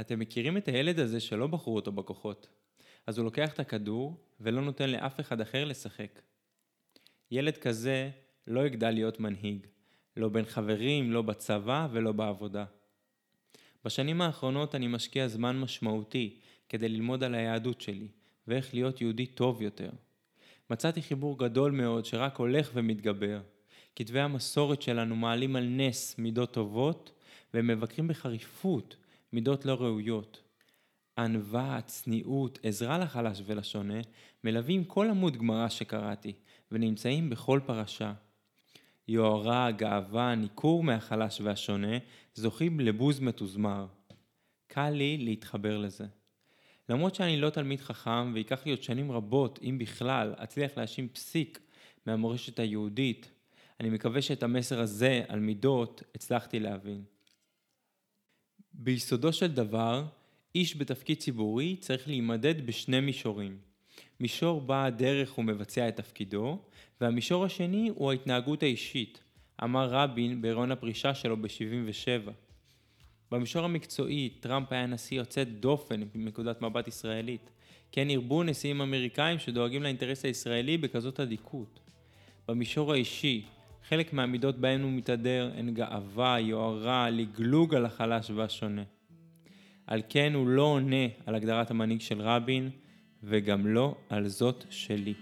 אתם מכירים את הילד הזה שלא בחרו אותו בכוחות, אז הוא לוקח את הכדור ולא נותן לאף אחד אחר לשחק. ילד כזה לא יגדל להיות מנהיג, לא בין חברים, לא בצבא ולא בעבודה. בשנים האחרונות אני משקיע זמן משמעותי כדי ללמוד על היהדות שלי ואיך להיות יהודי טוב יותר. מצאתי חיבור גדול מאוד שרק הולך ומתגבר. כתבי המסורת שלנו מעלים על נס מידות טובות ומבקרים בחריפות מידות לא ראויות. ענווה, צניעות, עזרה לחלש ולשונה מלווים כל עמוד גמרא שקראתי ונמצאים בכל פרשה. יוהרה, גאווה, ניכור מהחלש והשונה זוכים לבוז מתוזמר. קל לי להתחבר לזה. למרות שאני לא תלמיד חכם וייקח לי עוד שנים רבות, אם בכלל, אצליח להאשים פסיק מהמורשת היהודית, אני מקווה שאת המסר הזה על מידות הצלחתי להבין. ביסודו של דבר, איש בתפקיד ציבורי צריך להימדד בשני מישורים. מישור בה הדרך הוא מבצע את תפקידו, והמישור השני הוא ההתנהגות האישית, אמר רבין בהיריון הפרישה שלו ב-77. במישור המקצועי, טראמפ היה נשיא יוצא דופן מנקודת מבט ישראלית. כן ירבו נשיאים אמריקאים שדואגים לאינטרס הישראלי בכזאת אדיקות. במישור האישי, חלק מהמידות בהן הוא מתהדר הן גאווה, יוהרה, לגלוג על החלש והשונה. על כן הוא לא עונה על הגדרת המנהיג של רבין, וגם לא על זאת שלי.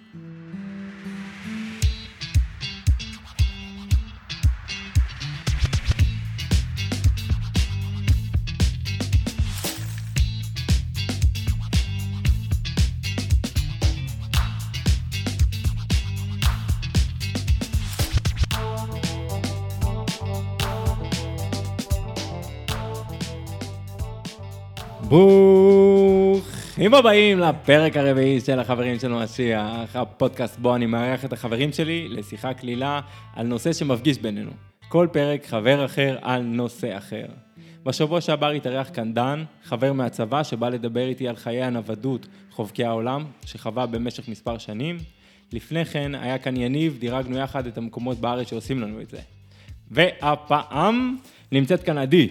ברוכים הבאים לפרק הרביעי של החברים של משיח, הפודקאסט בו אני מארח את החברים שלי לשיחה קלילה על נושא שמפגיש בינינו. כל פרק חבר אחר על נושא אחר. בשבוע שעבר התארח כאן דן, חבר מהצבא שבא לדבר איתי על חיי הנוודות חובקי העולם, שחווה במשך מספר שנים. לפני כן היה כאן יניב, דירגנו יחד את המקומות בארץ שעושים לנו את זה. והפעם נמצאת כאן עדי,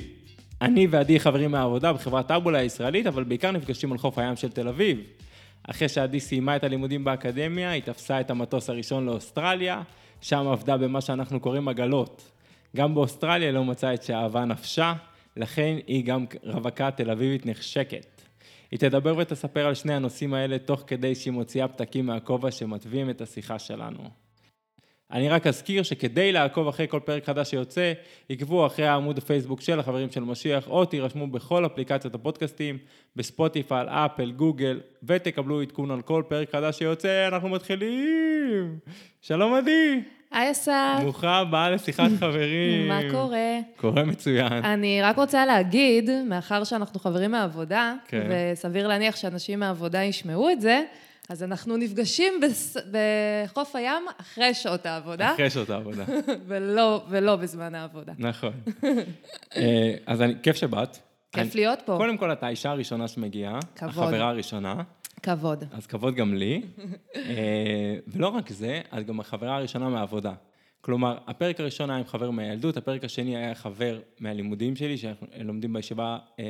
אני ועדי חברים מהעבודה בחברת טאבולה הישראלית, אבל בעיקר נפגשים על חוף הים של תל אביב. אחרי שעדי סיימה את הלימודים באקדמיה, היא תפסה את המטוס הראשון לאוסטרליה, שם עבדה במה שאנחנו קוראים עגלות. גם באוסטרליה לא מצאה את שאהבה נפשה, לכן היא גם רווקה תל אביבית נחשקת. היא תדבר ותספר על שני הנושאים האלה תוך כדי שהיא מוציאה פתקים מהכובע שמתווים את השיחה שלנו. אני רק אזכיר שכדי לעקוב אחרי כל פרק חדש שיוצא, עקבו אחרי העמוד הפייסבוק של החברים של משיח, או תירשמו בכל אפליקציות הפודקאסטים, בספוטיפל, אפל, גוגל, ותקבלו עדכון על כל פרק חדש שיוצא, אנחנו מתחילים! שלום עדי! היי אסף, ברוכה הבאה לשיחת חברים. אה. מה קורה? קורה מצוין. אני רק רוצה להגיד, מאחר שאנחנו חברים מהעבודה, כן. וסביר להניח שאנשים מהעבודה ישמעו את זה, אז אנחנו נפגשים בס... בחוף הים אחרי שעות העבודה, אחרי שעות העבודה. ולא, ולא בזמן העבודה. נכון. אה, אז אני, כיף שבאת. אני- כיף להיות פה, קודם כל, את האישה הראשונה שמגיעה. כבוד. החברה הראשונה. כבוד. אז כבוד גם לי. אה, ולא רק זה, את גם החברה הראשונה מהעבודה. כלומר, הפרק הראשון היה עם חבר מהילדות, הפרק השני היה חבר מהלימודים שלי, שאנחנו לומדים בישיבה אה,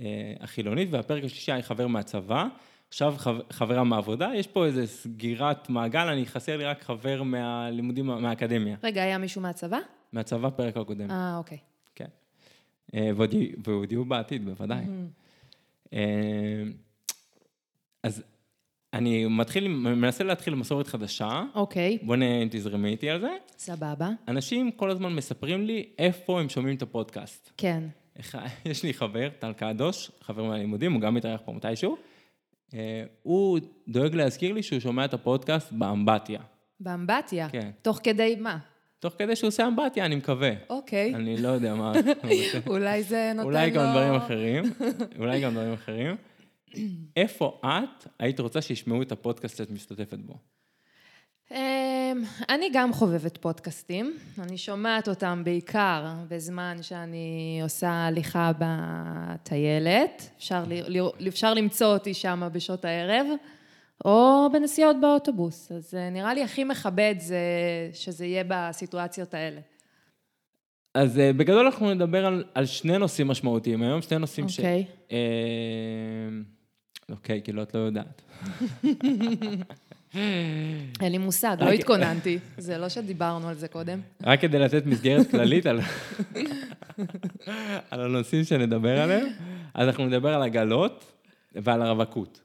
אה, החילונית, והפרק השלישי היה חבר מהצבא. עכשיו חב- חברה מהעבודה, יש פה איזו סגירת מעגל, אני חסר לי רק חבר מהלימודים, מהאקדמיה. רגע, היה מישהו מהצבא? מהצבא, פרק הקודם. אה, אוקיי. כן. אה, ועוד יהיו- ועוד יהיו בעתיד, בוודאי. אה, אז אני מתחיל, עם- מנסה להתחיל מסורת חדשה. אוקיי, בוא נראה אם תזרמי איתי על זה. סבבה. אנשים כל הזמן מספרים לי איפה הם שומעים את הפודקאסט. כן. אחד- יש לי חבר, טל קדוש, חבר מהלימודים, הוא גם מתארח פה מתישהו. אה, הוא דואג להזכיר לי שהוא שומע את הפודקאסט באמבטיה. באמבטיה. כן. תוך כדי מה? תוך כדי שהוא עושה אמבטיה, אני מקווה. אוקיי. אני לא יודע מה... אולי זה נותן לו... אולי גם דברים אחרים, אולי גם דברים אחרים. איפה את היית רוצה שישמעו את הפודקאסט שאת משתתפת בו? אמ, אני גם חובבת פודקאסטים, אני שומעת אותם בעיקר בזמן שאני עושה הליכה בטיילת, אפשר, ל- לרא- אפשר למצוא אותי שם בשעות הערב, או בנסיעות באוטובוס, אז אה, נראה לי הכי מכבד זה שזה יהיה בסיטואציות האלה. אז אה, בגדול אנחנו נדבר על, על שני נושאים משמעותיים היום, שני נושאים ש... אוקיי. אה, אוקיי, כאילו את לא יודעת. אין לי מושג, לא רק- התכוננתי. זה לא שדיברנו על זה קודם. רק כדי לתת מסגרת כללית על, על הנושאים שנדבר עליהם, אז אנחנו נדבר על עגלות ועל הרווקות.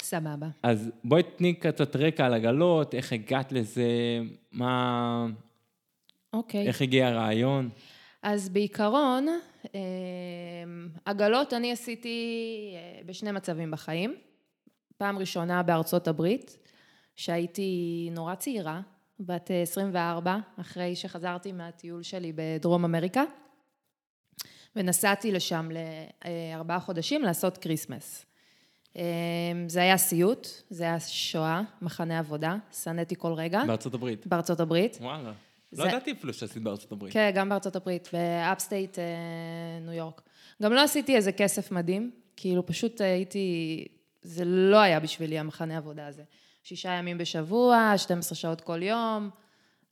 סבבה. אז בואי תני קצת רקע על עגלות, איך הגעת לזה, מה... אוקיי. איך הגיע הרעיון? אז בעיקרון, אה, עגלות אני עשיתי אה, בשני מצבים בחיים. פעם ראשונה בארצות הברית, שהייתי נורא צעירה, בת אה, 24, אחרי שחזרתי מהטיול שלי בדרום אמריקה, ונסעתי לשם לארבעה חודשים לעשות כריסמס. אה, זה היה סיוט, זה היה שואה, מחנה עבודה, שנאתי כל רגע, בארצות הברית. בארצות הברית. וואלה. אה? זה- לא ידעתי אפילו שעשית בארצות הברית. כן, גם בארצות הברית, באפסטייט אה, ניו יורק. גם לא עשיתי איזה כסף מדהים, כאילו פשוט הייתי, זה לא היה בשבילי המחנה עבודה הזה. שישה ימים בשבוע, 12 שעות כל יום,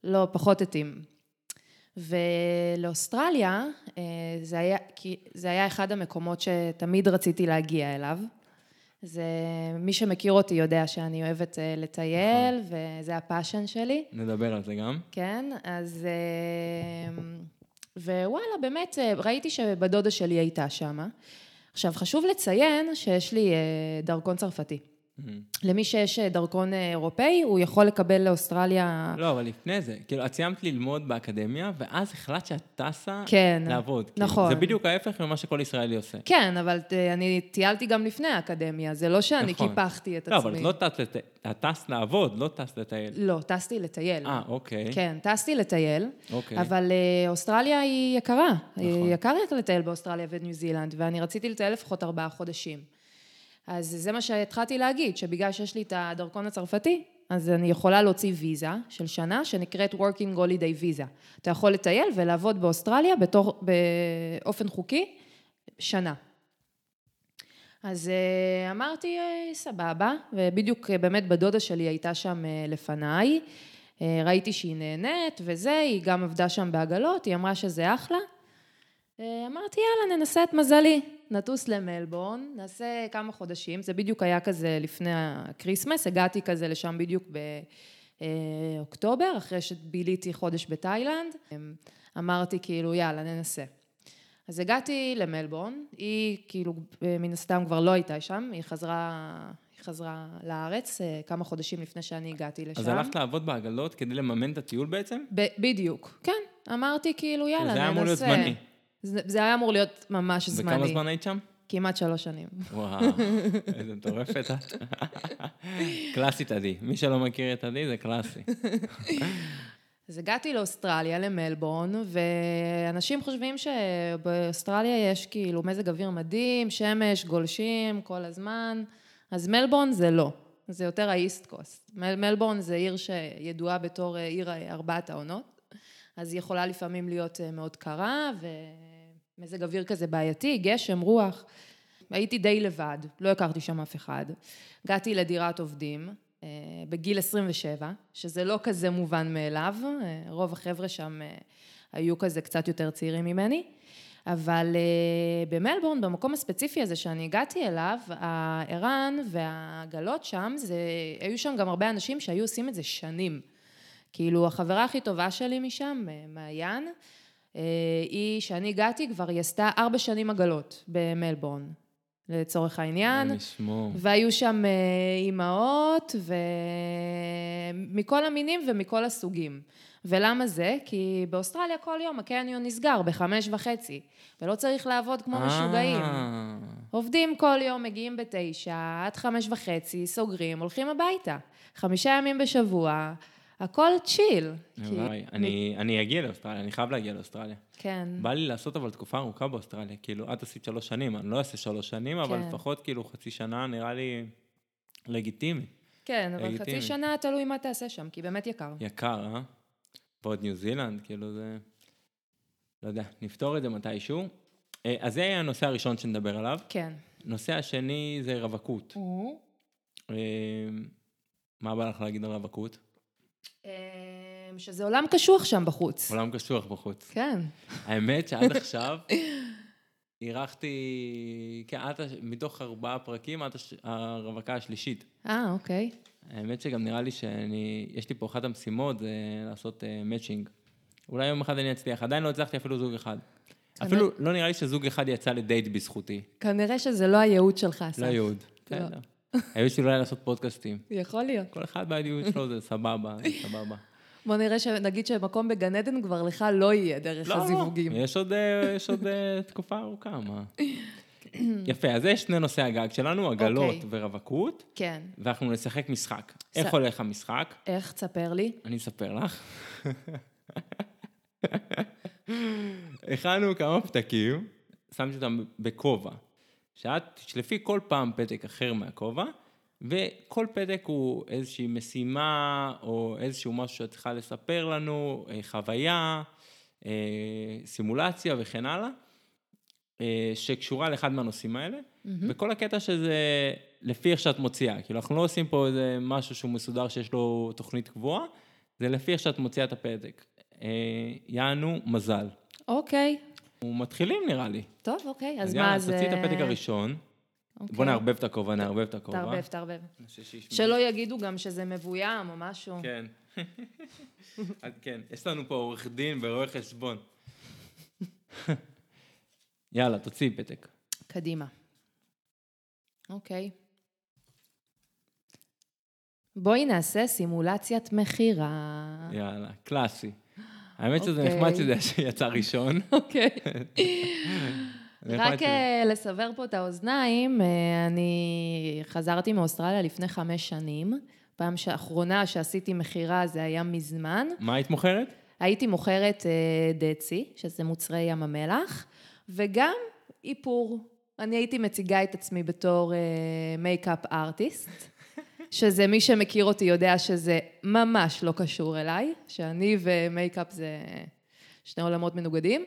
לא, פחות התאים. ולאוסטרליה, אה, זה היה, כי זה היה אחד המקומות שתמיד רציתי להגיע אליו. זה, מי שמכיר אותי יודע שאני אוהבת אה, לטייל, וזה הפאשן שלי. נדבר על זה גם. כן, אז... אה, ווואלה, באמת, אה, ראיתי שבדודה שלי הייתה שמה. עכשיו, חשוב לציין שיש לי אה, דרכון צרפתי. Mm. למי שיש אה, דרכון אה, אירופאי, הוא יכול לקבל לאוסטרליה... לא, אבל לפני זה, כאילו, את סיימת ללמוד באקדמיה, ואז החלטת שאת טסה כן. לעבוד. כאילו. נכון. זה בדיוק ההפך ממה שכל ישראלי עושה. כן, אבל אה, אני טיילתי גם לפני האקדמיה, זה לא שאני נכון. קיפחתי את לא, עצמי. אבל את לא טסת לט- את טסת לעבוד, לא טסת לטייל. לא, טסתי לטייל. אה, אוקיי. כן, טסתי לטייל, אוקיי. אבל אה, אוסטרליה היא יקרה. נכון. נכון. יקר לטייל באוסטרליה וניו זילנד, ואני רציתי לטייל לפחות ארבעה חודשים. אז זה מה שהתחלתי להגיד, שבגלל שיש לי את הדרכון הצרפתי, אז אני יכולה להוציא ויזה של שנה שנקראת Working Holiday Visa. אתה יכול לטייל ולעבוד באוסטרליה בתור, באופן חוקי שנה. אז אה, אמרתי, אה, סבבה, ובדיוק אה, באמת בדודה שלי הייתה שם אה, לפניי, אה, ראיתי שהיא נהנית וזה, היא גם עבדה שם בעגלות, היא אמרה שזה אחלה. אה, אמרתי, יאללה, ננסה את מזלי. נטוס למלבורן, נעשה כמה חודשים, זה בדיוק היה כזה לפני הקריסמס, הגעתי כזה לשם בדיוק באוקטובר, אחרי שביליתי חודש בתאילנד. אמרתי, כאילו, יאללה, ננסה. אז הגעתי למלבורן, היא כאילו אה, מן הסתם כבר לא הייתה שם, היא חזרה, היא חזרה לארץ אה, כמה חודשים לפני שאני הגעתי לשם. אז הלכת לעבוד בעגלות כדי לממן את הטיול בעצם? ב- בדיוק, כן. אמרתי כאילו, יאללה, ננסה. זה היה אמור להיות זמני. זה, זה היה אמור להיות ממש זמני. וכמה זמן היית שם? כמעט שלוש שנים. וואו, איזה מטורפת את. קלאסית עדי. מי שלא מכיר את עדי זה קלאסי. אז הגעתי לאוסטרליה, למלבורן, ואנשים חושבים שבאוסטרליה יש כאילו מזג אוויר מדהים, שמש, גולשים כל הזמן, אז מלבורן זה לא, זה יותר האיסט קוסט. מל- מלבורן זה עיר שידועה בתור אה, עיר אה, ארבעת העונות, אז היא יכולה לפעמים להיות אה, מאוד קרה, ומזג אוויר כזה בעייתי, גשם, רוח. הייתי די לבד, לא הכרתי שם אף אחד. הגעתי לדירת עובדים אה, בגיל 27, שזה לא כזה מובן מאליו, אה, רוב החבר'ה שם אה, היו כזה קצת יותר צעירים ממני, אבל אה, במלבורן, במקום הספציפי הזה שאני הגעתי אליו, הערן והעגלות שם, זה, היו שם גם הרבה אנשים שהיו עושים את זה שנים. כאילו, החברה הכי טובה שלי משם, אה, מעיין, אה, היא, שאני הגעתי, כבר היא עשתה ארבע שנים עגלות במלבורן, לצורך העניין. אלוהים ישמור. והיו שם אה, אימהות, ומכל המינים ומכל הסוגים. ולמה זה? כי באוסטרליה כל יום הקניון נסגר בחמש וחצי, ולא צריך לעבוד כמו משוגעים. אה, עובדים כל יום, מגיעים בתשע, עד חמש וחצי, סוגרים, הולכים הביתה. חמישה ימים בשבוע, הכל צ'יל. כי- וואי, אני- אני אגיע לאוסטרליה, אני חייב להגיע לאוסטרליה. כן. בא לי לעשות אבל תקופה ארוכה באוסטרליה, כאילו, את עשית שלוש שנים, אני לא אעשה שלוש שנים, אבל כן. לפחות כאילו חצי שנה נראה לי לגיטימי. כן, אבל לגיטימי. חצי שנה תלוי מה תעשה שם, כי באמת יקר. יקר, אה? ועוד ניו זילנד, כאילו זה... לא יודע, נפתור את זה מתישהו. אה, אז זה היה הנושא הראשון שנדבר עליו. כן. הנושא השני זה רווקות. אה, מה בא לך להגיד על רווקות? אמ, לפעמים, שזה עולם קשוח שם בחוץ. עולם קשוח בחוץ. כן. האמת שעד עכשיו אירחתי, כן, עד, הש- מתוך ארבעה פרקים, עד הש- הרווקה השלישית. אה, אוקיי. האמת שגם נראה לי שאני, יש לי פה אחת המשימות, זה לעשות אה, מאצ'ינג. אולי יום אחד אני אצליח, עדיין לא הצלחתי אפילו זוג אחד. האמת- אפילו לא נראה לי שזוג אחד יצא לדייט בזכותי. כנראה שזה לא הייעוד שלך, אסף. לא יהוד. בסדר. היו שלי אולי לעשות פודקאסטים. יכול להיות. כל אחד והדיון שלו זה סבבה, זה סבבה. בוא נראה שנגיד שמקום בגן עדן כבר לך לא יהיה דרך הזיווגים. יש עוד, אה, יש עוד אה, תקופה ארוכה, מה? יפה, אז זה שני נושאי הגג שלנו, עגלות אוקיי. ורווקות, כן. ואנחנו נשחק משחק. איך הולך המשחק? איך? תספר לי. אני אספר לך. הכנו כמה פתקים, שמתי אותם בכובע. שאת תשלפי כל פעם פתק אחר מהכובע, וכל פתק הוא איזושהי משימה, או איזשהו משהו שאת צריכה לספר לנו, אה, חוויה, אה, סימולציה וכן הלאה, אה, שקשורה לאחד מהנושאים האלה. וכל הקטע שזה לפי איך שאת מוציאה, כאילו אנחנו לא עושים פה איזה משהו שהוא מסודר שיש לו תוכנית קבועה, זה לפי איך שאת מוציאה את הפתק. אה, יענו, מזל. אוקיי. מתחילים נראה לי. טוב, אוקיי. אז יאללה, מה זה... תוציאי את הפתק הראשון. אוקיי. בוא נערבב את הכובע, נערבב את הכובע. תערבב, תערבב. נעשה שישמעו. שלא יגידו גם שזה מבוים או משהו. כן. אז כן, יש לנו פה עורך דין ורואה חשבון. יאללה, תוציאי פתק. קדימה. אוקיי. בואי נעשה סימולציית מכירה. יאללה, קלאסי. האמת שזה נחמד אוקיי. שזה שיצא ראשון. אוקיי. נחמד רק שזה- אה, לסבר פה את האוזניים, אה, אני חזרתי מאוסטרליה לפני חמש שנים. פעם האחרונה שעשיתי מכירה זה היה מזמן. מה היית מוכרת? הייתי מוכרת אה, דצי, שזה מוצרי ים המלח, וגם איפור. אני הייתי מציגה את עצמי בתור מייקאפ ארטיסט, שזה מי שמכיר אותי יודע שזה ממש לא קשור אליי, שאני ומייקאפ זה שני עולמות מנוגדים,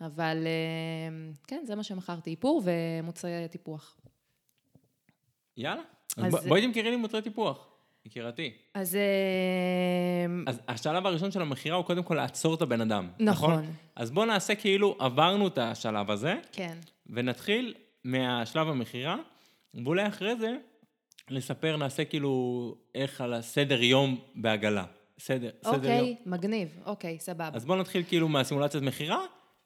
אבל אה, כן, זה מה שמכרתי, איפור ומוצרי טיפוח. יאללה. אז- אז ב- בואי תמכרי לי מוצרי טיפוח, יקירתי. אז אה, אז השלב הראשון של המכירה הוא קודם כל לעצור את הבן אדם. נכון. אז בואו נעשה כאילו עברנו את השלב הזה, כן, ונתחיל מהשלב המכירה, ואולי אחרי זה נספר, נעשה כאילו איך על הסדר יום בעגלה. סדר, סדר יום. אוקיי, מגניב, אוקיי, סבבה. אז בואו נתחיל כאילו מהסימולציית מכירה,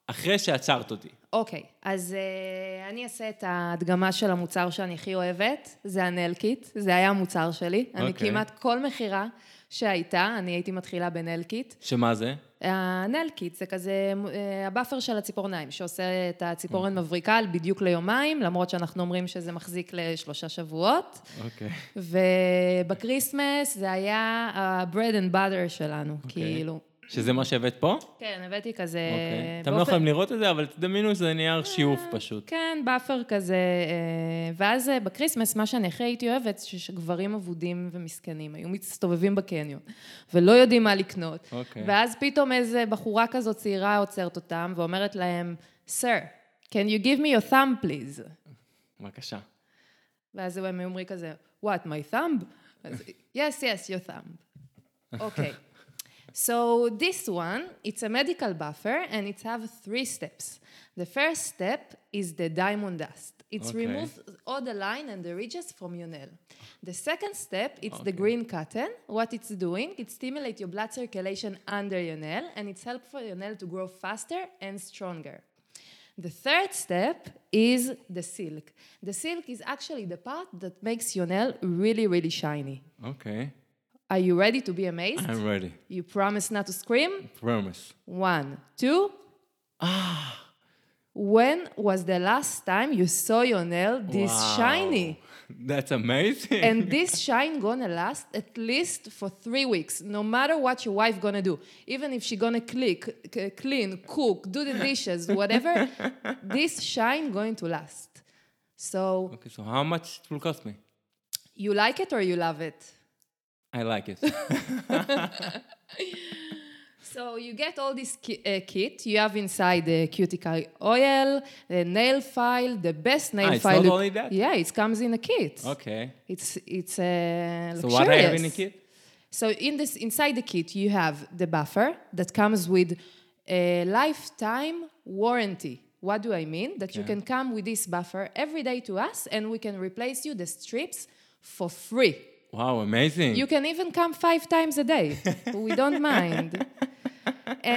אחרי שעצרת אותי. אוקיי, אז אה, אני אעשה את ההדגמה של המוצר שאני הכי אוהבת, זה הנלקיט, זה היה המוצר שלי. אני אוקיי. כמעט כל מכירה שהייתה, אני הייתי מתחילה בנלקיט. שמה זה? הנלקיט זה כזה אה, הבאפר של הציפורניים, שעושה את הציפורן אוקיי. מבריקה על בדיוק ליומיים, למרות שאנחנו אומרים שזה מחזיק לשלושה שבועות. אוקיי. ובקריסמס זה היה ה-bread and butter שלנו, אוקיי. כאילו. שזה מה שהבאת פה? כן, הבאתי כזה... אוקיי. אתם לא באופן- אה. יכולים לראות את זה, אבל תדמיינו שזה נייר שיוף פשוט. כן, באפר כזה. אה, ואז אה, בקריסמס, מה שאני הכי הייתי אוהבת, זה שגברים אבודים ומסכנים היו מסתובבים בקניון, ולא יודעים מה לקנות. אוקיי. ואז פתאום איזה בחורה כזאת צעירה עוצרת אותם ואומרת להם, Sir, can you give me your thumb please? בבקשה. ואז הם היו אומרים כזה, what, my thumb? אז, yes, yes, your thumb. אוקיי. So this one, it's a medical buffer and it have three steps. The first step is the diamond dust. It's Okay. removes all the line and the ridges from your nail. The second step, it's the green cotton. What it's doing, it stimulates your blood circulation under your nail and it's helpful for your nail to grow faster and stronger. The third step is the silk. The silk is actually the part that makes your nail really, really shiny. אוקיי. Are you ready to be amazed? I'm ready. You promise not to scream? promise. One, two. Ah. When was the last time you saw your nail this Wow. shiny? That's amazing. And this shine gonna last at least for three weeks, no matter what your wife gonna do. Even if she gonna click, c- clean, cook, do the dishes, whatever, this shine going to last. So okay, אוקיי, so how much it will cost me? you like it or you love it? I like it. So you get all this ki- uh, kit. You have inside the cuticle oil, the nail file, the best nail Ah, it's file. not you- only that? Yeah, it comes in a kit. okay. It's it's uh, אוקיי. So what I have luxurious. in a kit? So in this inside the kit you have the buffer that comes with a lifetime warranty. What do I mean? That you Okay. can come with this buffer every day to us and we can replace you the strips for free. וואו, אמייזינג. You can even come five times a day. we don't mind.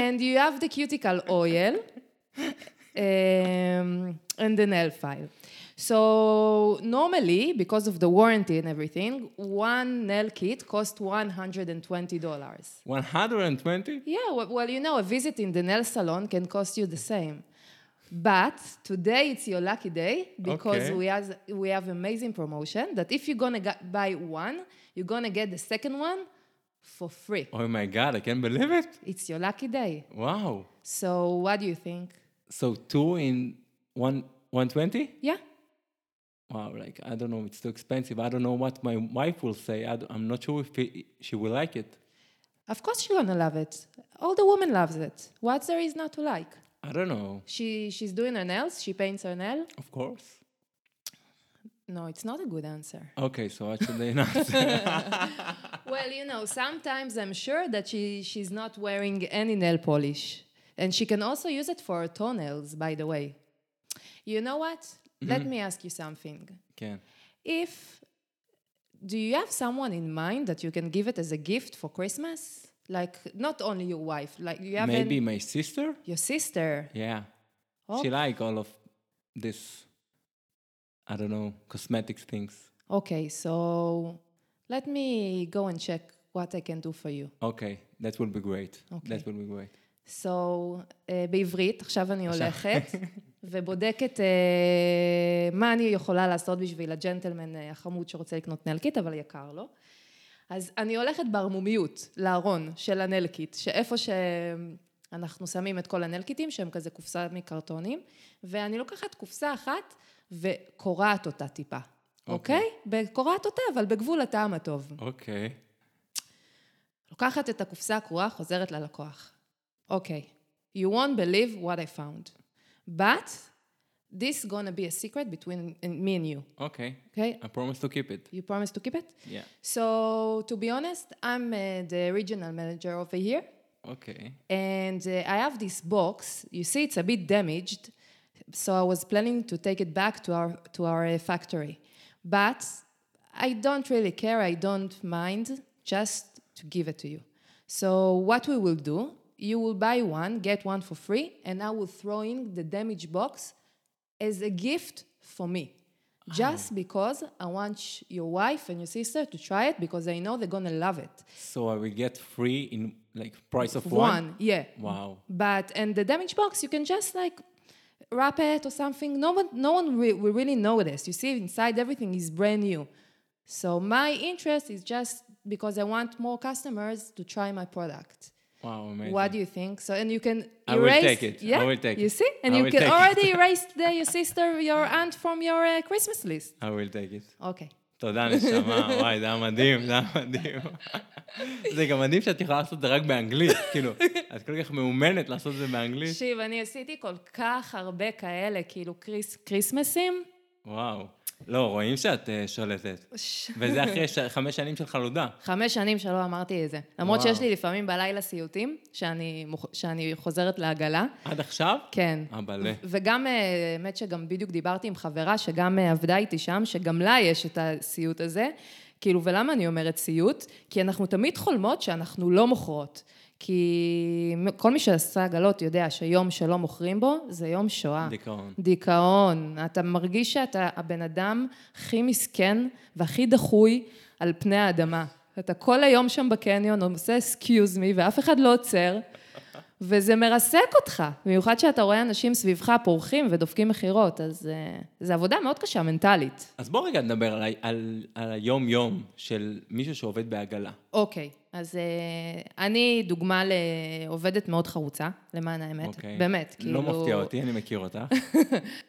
And you have the cuticle oil um, and the nail file. So normally, because of the warranty and everything, one nail kit costs $120. 120? Yeah, w- well, you know, a visit in the nail salon can cost you the same. But today it's your lucky day because Okay. we, has, we have amazing promotion that if you're gonna get, buy one, you're gonna get the second one for free. Oh my god, I can't believe it. It's your lucky day. Wow. So what do you think? So two in one, 120? Yeah, Wow, like, I don't know, it's too expensive. I don't know what my wife will say. I am not sure if he, she will like it. of course you're gonna love it. All the women loves it. What there is not to like? I don't know. She she's doing her nails. She paints her nail. Of course. No, it's not a good answer. Okay, אוקיי, so actually not. Well, you know, sometimes I'm sure that she she's not wearing any nail polish, and she can also use it for her toenails, by the way. You know what? Let me ask you something. כן. If do you have someone in mind that you can give it as a gift for Christmas? Like not only your wife, like you have an- Maybe my sister? your sister. Yeah. Oh, She like all of this, I don't know, cosmetics things. okay, so let me go and check what I can do for you. Okay, that will be great. אוקיי. That will be great. So, uh, בעברית, עכשיו אני הולכת ובודקת uh, מה אני יכולה לעשות בשביל הג'נטלמן אה, החמוד שרוצה לקנות נלקיט, אבל יקר לו. אז אני הולכת בערמומיות לארון של הנלקיט, שאיפה שאנחנו שמים את כל הנלקיטים, שהם כזה קופסה מקרטונים, ואני לוקחת קופסה אחת וקורעת אותה טיפה, אוקיי. אוקיי? קורעת אותה, אבל בגבול הטעם הטוב. אוקיי. לוקחת את הקופסה הקרועה, חוזרת ללקוח. אוקיי, okay. you won't believe what I found. But this gonna be a secret between me and you, אוקיי. okay? I promise to keep it. You promise to keep it? Yeah. So, to be honest, I'm uh, the regional manager over here, אוקיי. and uh, I have this box. You see, it's a bit damaged, so I was planning to take it back to our to our uh, factory, but I don't really care. I don't mind. Just to give it to you. So what we will do? You will buy one, get one for free, and I will throw in the damaged box as a gift for me. Just because I want sh- your wife and your sister to try it because I know they're gonna love it. So I will get free in like price of one. One, yeah. וואו. But and the damage box, you can just like wrap it or something. No one, no one re- will really notice. You see, inside everything is brand new. So my interest is just because I want more customers to try my product. וואו, amazing. What do you think? So and you can I will erase. take it. I Yeah, will take you it. see, and I you will can take it. already erase the, your sister, your aunt from your uh, Christmas list. I will take it. Okay. תודה נשמה, וואי, זה היה מדהים, זה היה מדהים. זה גם מדהים שאת יכולה לעשות את זה רק באנגלית, כאילו, את כל כך מאומנת לעשות את זה באנגלית. תקשיב, אני עשיתי כל כך הרבה כאלה, כאילו קריס, כריסמסים. וואו. לא, רואים שאת אה, שולטת. וזה אחרי ש- חמש שנים של חלודה. חמש שנים שלא אמרתי את זה. למרות וואו. שיש לי לפעמים בלילה סיוטים, שאני, מוכ- שאני חוזרת לעגלה. עד עכשיו? כן. אה, בלה. וגם, אה, האמת שגם בדיוק דיברתי עם חברה שגם אה, עבדה איתי שם, שגם לה יש את הסיוט הזה. כאילו, ולמה אני אומרת סיוט? כי אנחנו תמיד חולמות שאנחנו לא מוכרות. כי כל מי שעשה עגלות יודע שיום שלא מוכרים בו, זה יום שואה. דיכאון. דיכאון. אתה מרגיש שאתה הבן אדם הכי מסכן והכי דחוי על פני האדמה. אתה כל היום שם בקניון, עושה אסקיוז מי, ואף אחד לא עוצר, וזה מרסק אותך. במיוחד שאתה רואה אנשים סביבך פורחים ודופקים מכירות, אז אה, זו עבודה מאוד קשה, מנטלית. אז בואו רגע נדבר על ה- על- על היום-יום של מישהו שעובד בעגלה. אוקיי, אז אה, אני דוגמה לעובדת מאוד חרוצה, למען האמת. אוקיי? באמת, לא כאילו... מפתיע אותי, אני מכיר אותך.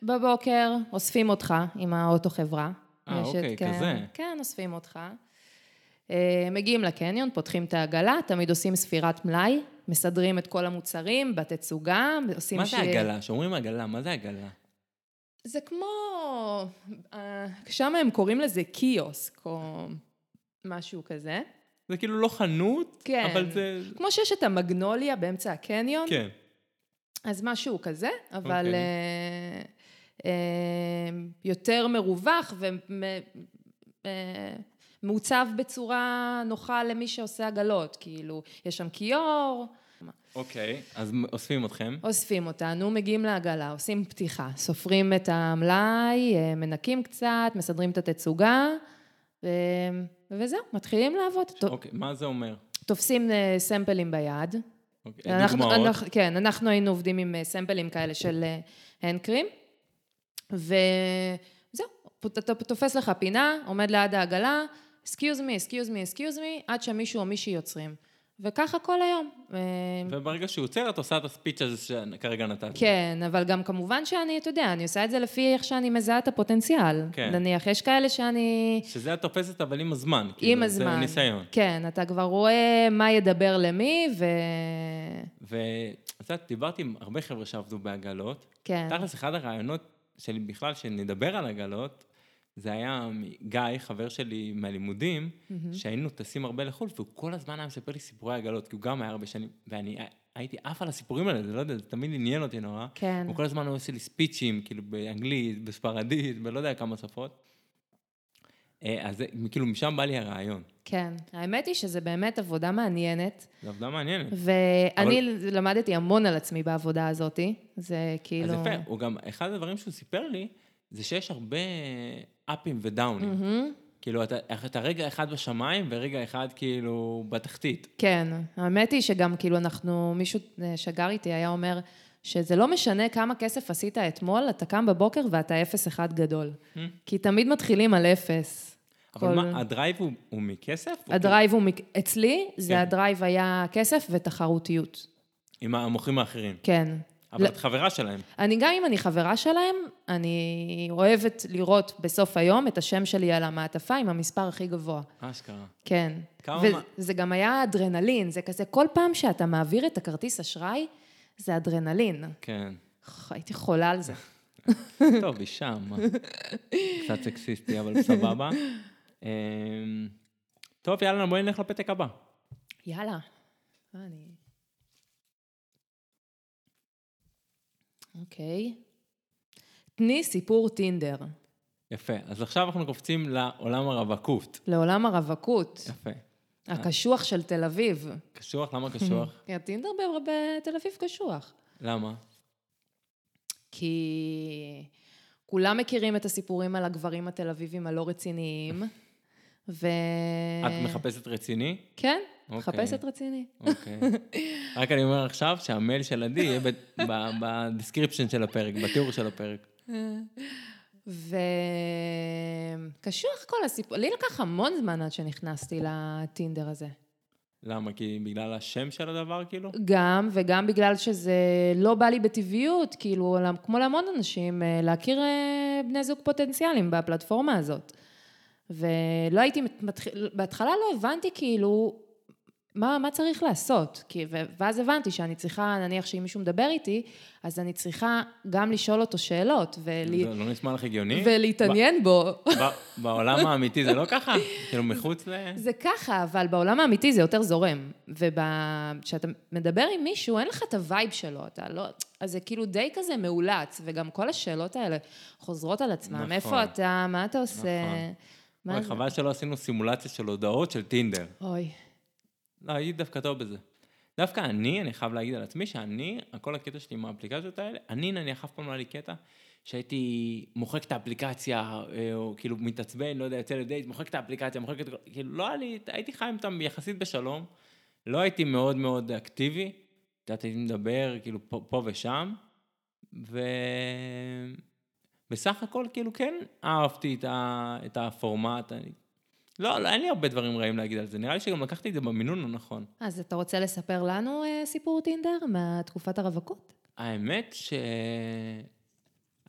בבוקר אוספים אותך עם האוטו חברה. אה, יש את- אוקיי, כן, כזה. כן, אוספים אותך. אה, מגיעים לקניון, פותחים את העגלה, תמיד עושים ספירת מלאי, מסדרים את כל המוצרים בתצוגה, עושים... מה ש- זה עגלה? שאומרים עגלה, מה זה עגלה? זה כמו... אה, שם הם קוראים לזה קיוסק או משהו כזה. זה כאילו לא חנות, כן. נכון. אבל זה... כמו שיש את המגנוליה באמצע הקניון, כן. אז משהו כזה, אבל אוקיי. אה, אה, יותר מרווח ומעוצב בצורה נוחה למי שעושה עגלות, כאילו, יש שם כיור, אוקיי. אז אוספים אתכם. אוספים אותנו, מגיעים לעגלה, עושים פתיחה, סופרים את המלאי, אה, מנקים קצת, מסדרים את התצוגה, ו- וזהו, מתחילים לעבוד. ת- אוקיי, מה זה אומר? תופסים אה, סמפלים ביד. אוקיי, אנחנו, דוגמאות. אנחנו, כן, אנחנו היינו עובדים עם אה, סמפלים כאלה של אה, הנקרים, וזהו, פ- אתה תופס לך פינה, עומד ליד העגלה, סקיוז מי, סקיוז מי, סקיוז מי, עד שמישהו או מישהי יוצרים. וככה כל היום. אה, וברגע שהוא יוצר, את עושה את הספיץ' הזה שכרגע נתת. כן, אבל גם כמובן שאני, אתה יודע, אני עושה את זה לפי איך שאני מזהה את הפוטנציאל. כן. כן. נניח, יש כאלה שאני... שזה את תופסת, אבל עם הזמן. עם כאילו, הזמן. זה ניסיון. כן, אתה כבר רואה מה ידבר למי, ו... ואת יודעת, דיברתי עם הרבה חבר'ה שעבדו בעגלות. כן. תכלס, אחד הרעיונות שלי בכלל, שנדבר על עגלות, זה היה מגיא, חבר שלי מהלימודים, שהיינו טסים הרבה לחו"ל, והוא כל הזמן היה מספר לי סיפורי עגלות, כי הוא גם היה הרבה שנים, ואני הייתי עף על הסיפורים האלה, זה לא יודע, זה תמיד עניין אותי נורא. כן. הוא כל הזמן היה עושה לי ספיצ'ים, כאילו באנגלית, בספרדית, בלא יודע כמה שפות. אה, אז זה- כאילו משם בא לי הרעיון. כן. האמת היא שזה באמת עבודה מעניינת, זו עבודה מעניינת. ואני למדתי המון על עצמי בעבודה הזאת, זה כאילו... אז יפה, הוא גם, אחד הדברים שהוא סיפר לי, זה שיש הרבה אפים ודאונים. מהמם. כאילו, אתה, אתה רגע אחד בשמיים ורגע אחד כאילו בתחתית. כן, האמת היא שגם כאילו אנחנו, מישהו אה, שגר איתי היה אומר שזה לא משנה כמה כסף עשית אתמול, אתה קם בבוקר ואתה אפס אחד גדול. כי תמיד מתחילים על אפס. אבל כל- מה, הדרייב הוא, הוא מכסף? הוא הדרייב הוא, מק- אצלי, אוקיי. כן. זה הדרייב היה כסף ותחרותיות. כאילו- עם המוחים האחרים. כן. אבל לא- את חברה שלהם. אני, גם אם אני חברה שלהם, אני אוהבת לראות בסוף היום את השם שלי על המעטפה עם המספר הכי גבוה. אשכרה. כן. כמה מה- וזה גם היה אדרנלין, זה כזה, כל פעם שאתה מעביר את הכרטיס אשראי, זה אדרנלין. כן. הייתי חולה על זה. טוב, היא שם. מה. קצת סקסיסטי, אבל סבבה. אמ, טוב, יאללה, בואי נלך לפתק הבא. יאללה. מה אני... אוקיי. תני סיפור טינדר יפה. אז עכשיו אנחנו קופצים לעולם הרווקות. לעולם הרווקות, יפה. הקשוח של תל אביב. קשוח? למה אה. קשוח? כי הטינדר ב- בתל אביב קשוח. למה? כי כולם מכירים את הסיפורים על הגברים התל אביבים הלא רציניים, ו... אה. את מחפשת רציני? כן, אוקיי. מחפשת רציני. אוקיי. רק אני אומר עכשיו שהמייל של עדי יהיה ב- ב- בדיסקריפשן של הפרק, בתיאור של הפרק. וקשוח כל הסיפור, לי לקח המון זמן עד שנכנסתי לטינדר הזה. למה? כי בגלל השם של הדבר, כאילו? גם, וגם בגלל שזה לא בא לי בטבעיות, כאילו, למ- כמו להמון אנשים, אה, להכיר אה, בני זוג פוטנציאליים בפלטפורמה הזאת. ולא הייתי, מת- מתחיל- בהתחלה לא הבנתי כאילו, מה, מה צריך לעשות? כי, ו- ואז הבנתי שאני צריכה, נניח שאם מישהו מדבר איתי, אז אני צריכה גם לשאול אותו שאלות, ולה, זה לא נשמע לך הגיוני? ולהתעניין בו. ב- ב- בעולם האמיתי זה לא ככה? כאילו, מחוץ ל... זה ככה, אבל בעולם האמיתי זה יותר זורם. וכשאתה מדבר עם מישהו, אין לך את הווייב שלו, אתה לא... אז זה כאילו די כזה מאולץ, וגם כל השאלות האלה חוזרות על עצמן. נכון. נכון. איפה אתה? מה אתה עושה? נכון. מה אוי, זה? חבל שלא עשינו סימולציה של הודעות של טינדר. אוי, לא, הייתי דווקא טוב בזה. דווקא אני, אני חייב להגיד על עצמי שאני, כל הקטע שלי עם האפליקציות האלה, אני נניח אף פעם לא היה לי קטע שהייתי מוחק את האפליקציה, אה, או כאילו מתעצבן, לא יודע, יוצא לדייט, מוחק את האפליקציה, מוחק את... כל- כאילו לא היה לי, הייתי חי איתם יחסית בשלום, לא הייתי מאוד מאוד אקטיבי, את יודעת, הייתי מדבר כאילו פה, פה ושם, ו... בסך הכל כאילו כן אהבתי את, ה... את הפורמט, אני... לא, לא, אין לי הרבה דברים רעים להגיד על זה, נראה לי שגם לקחתי את זה במינון לא נכון. הנכון. אז אתה רוצה לספר לנו אה, סיפור טינדר מתקופת הרווקות? האמת ש...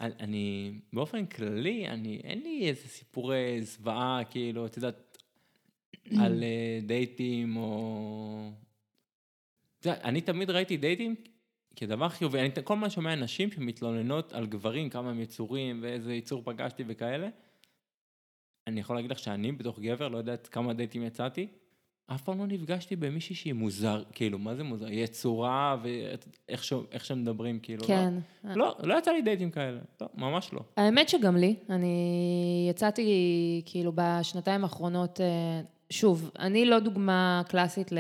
אני- אני, באופן כללי, אני, אין לי איזה סיפורי זוועה, כאילו, את יודעת, על אה, דייטים או... את יודעת, אני תמיד ראיתי דייטים כדבר חיובי. אני ת- כל הזמן שומע נשים שמתלוננות על גברים, כמה הם יצורים ואיזה יצור פגשתי וכאלה. אני יכול להגיד לך שאני, בתוך גבר, לא יודעת כמה דייטים יצאתי, אף פעם לא נפגשתי במישהי שהיא מוזר, כאילו, מה זה מוזר? היא יצורה ואיך ש- איך שמדברים, כאילו. כן. לא, לא, לא יצא לי דייטים כאלה, לא, ממש לא. האמת שגם לי, אני יצאתי כאילו בשנתיים האחרונות, אה, שוב, אני לא דוגמה קלאסית ל...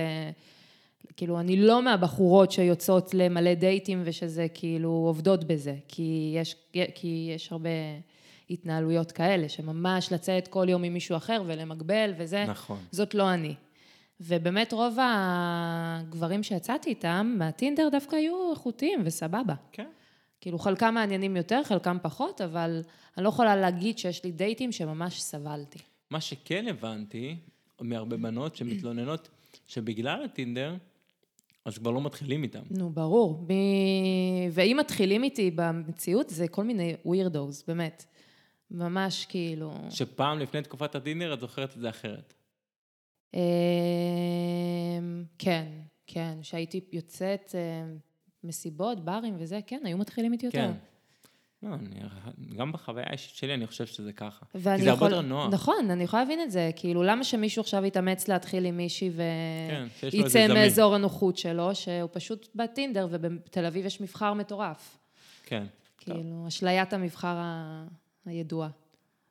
כאילו, אני לא מהבחורות שיוצאות למלא דייטים ושזה כאילו עובדות בזה, כי יש, כי יש הרבה התנהלויות כאלה, שממש לצאת כל יום עם מישהו אחר ולמגבל וזה, נכון. זאת לא אני. ובאמת רוב הגברים שיצאתי איתם, מהטינדר דווקא היו איכותיים וסבבה. כן. כאילו, חלקם מעניינים יותר, חלקם פחות, אבל אני לא יכולה להגיד שיש לי דייטים שממש סבלתי. מה שכן הבנתי מהרבה בנות שמתלוננות, שבגלל הטינדר, אז כבר לא מתחילים איתם. נו, ברור. ב... ואם מתחילים איתי במציאות, זה כל מיני ווירדוס, באמת. ממש כאילו... ש... שפעם לפני תקופת הטינדר, את זוכרת את זה אחרת. אמ, כן, כן, שהייתי יוצאת אה, מסיבות, ברים וזה, כן, היו מתחילים איתי יותר. כן. לא, אני, גם בחוויה האישית שלי אני חושב שזה ככה. כי זה ואני הרבה יכול- יותר נוח. נכון, אני יכולה להבין את זה. כאילו, למה שמישהו עכשיו יתאמץ להתחיל עם מישהי ו... כן, שיש לו את זה יצא זמין. מאזור הנוחות שלו, שהוא פשוט בטינדר, ובתל אביב יש מבחר מטורף. כן. טוב. כאילו, אשליית המבחר ה... הידועה.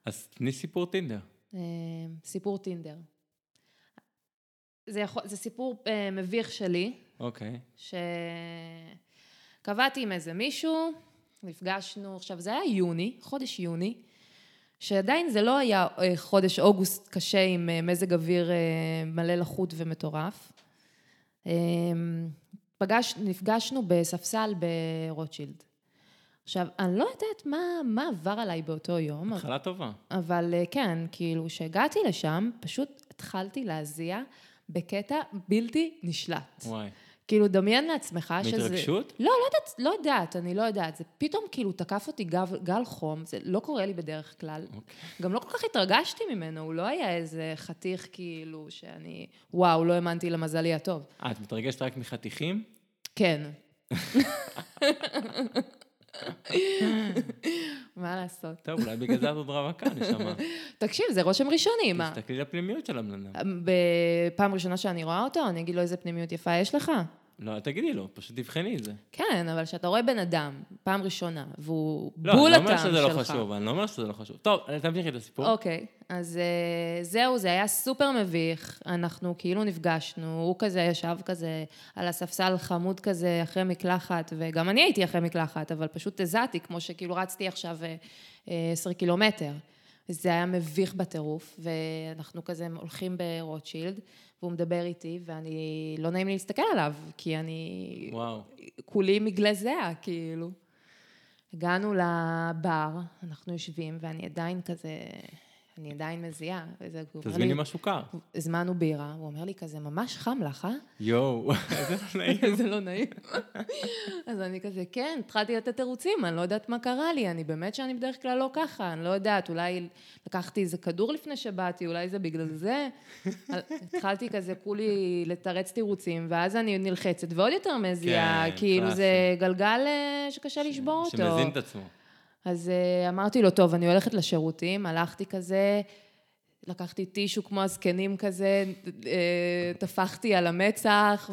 אז תני סיפור טינדר. אה, סיפור טינדר. זה, יכול... זה סיפור אה, מביך שלי, אוקיי. שקבעתי עם איזה מישהו, נפגשנו, עכשיו זה היה יוני, חודש יוני, שעדיין זה לא היה אה, חודש אוגוסט קשה עם אה, מזג אוויר אה, מלא לחות ומטורף. אה, פגש, נפגשנו בספסל ברוטשילד. עכשיו, אני לא יודעת מה, מה עבר עליי באותו יום, אבל- התחלה טובה. אבל אה, כן, כאילו, כשהגעתי לשם, פשוט התחלתי להזיע בקטע בלתי נשלט. וואי. כאילו, דמיין לעצמך שזה... מהתרגשות? לא, לא יודעת, לא יודעת, אני לא יודעת. זה פתאום כאילו תקף אותי גל, גל חום, זה לא קורה לי בדרך כלל. אוקיי. גם לא כל כך התרגשתי ממנו, הוא לא היה איזה חתיך כאילו שאני... וואו, לא האמנתי למזלי הטוב. אה, את מתרגשת רק מחתיכים? כן. מה לעשות? טוב, אולי בגלל זה את עוד רווקה, נשמה. תקשיב, זה רושם ראשוני, מה? תסתכלי לפנימיות של הבן אדם. בפעם ראשונה שאני רואה אותו, אני אגיד לו איזה פנימיות יפה יש לך. לא, אל תגידי לו, פשוט תבחני את זה. לא, כן, אבל כשאתה רואה בן אדם, פעם ראשונה, והוא לא, בול אני לא הטעם שלך. אומר שזה לא חשוב, אני לא אומר שזה לא חשוב. טוב, אני- תמשיכי את הסיפור. אוקיי, אז אה, זהו, זה היה סופר מביך. אנחנו כאילו נפגשנו, הוא כזה ישב כזה על הספסל חמוד כזה אחרי מקלחת, וגם אני הייתי אחרי מקלחת, אבל פשוט הזעתי, כמו שכאילו רצתי עכשיו אה, אה, 10 קילומטר. זה היה מביך בטירוף, ואנחנו כזה הולכים ברוטשילד, והוא מדבר איתי, ואני, לא נעים לי להסתכל עליו, כי אוקיי. אני וואו. כולי מגלזע, כאילו. הגענו לבר, אנחנו יושבים, ואני עדיין כזה, אני עדיין מזיעה. וזה, הוא אומר תזמיני לי- משהו קר. הזמנו בירה, הוא אומר לי כזה, ממש חם לך, אה? יואו, איזה לא נעים. זה לא נעים. אז אני כזה, כן, התחלתי לתת תירוצים, אני לא יודעת מה קרה לי, אני באמת שאני בדרך כלל לא ככה, אני לא יודעת, אולי לקחתי איזה כדור לפני שבאתי, אולי זה בגלל זה. התחלתי כזה, כולי לתרץ תירוצים, ואז אני נלחצת ועוד יותר מזיעה, כן, כאילו זה קלאסי. גלגל אה, שקשה לשבור אותו. שמזין את עצמו. אז אה, אמרתי לו, טוב, אני הולכת לשירותים, הלכתי כזה, לקחתי טישו כמו הזקנים כזה, אה, טפחתי על המצח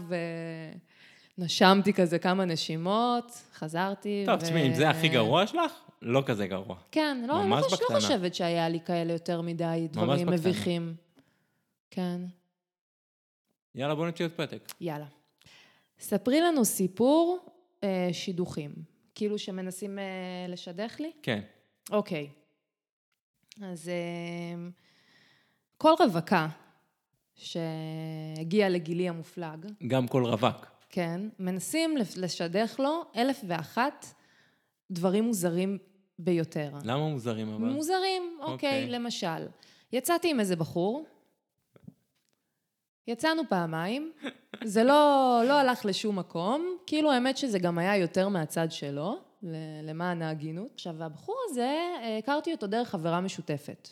ונשמתי כזה כמה נשימות, חזרתי. טוב, ו- תשמעי, אם זה הכי גרוע שלך, לא כזה גרוע. כן, לא, אני לא, ממש חוש... לא בקטנה. חושבת שהיה לי כאלה יותר מדי דברים בקטנה. מביכים. כן, יאללה, בוא נוציא עוד פתק. יאללה. ספרי לנו סיפור אה, שידוכים, כאילו שמנסים אה, לשדך לי. כן. אוקיי. אז אמ, כל רווקה שהגיעה לגילי המופלג, גם כל רווק. כן, מנסים לפ- לשדך לו אלף ואחת דברים מוזרים ביותר. למה מוזרים אבל? מוזרים, אוקיי, אוקיי. למשל. יצאתי עם איזה בחור, יצאנו פעמיים, זה לא, לא הלך לשום מקום, כאילו האמת שזה גם היה יותר מהצד שלו, ל- למען ההגינות. עכשיו, הבחור הזה, אה, הכרתי אותו דרך חברה משותפת.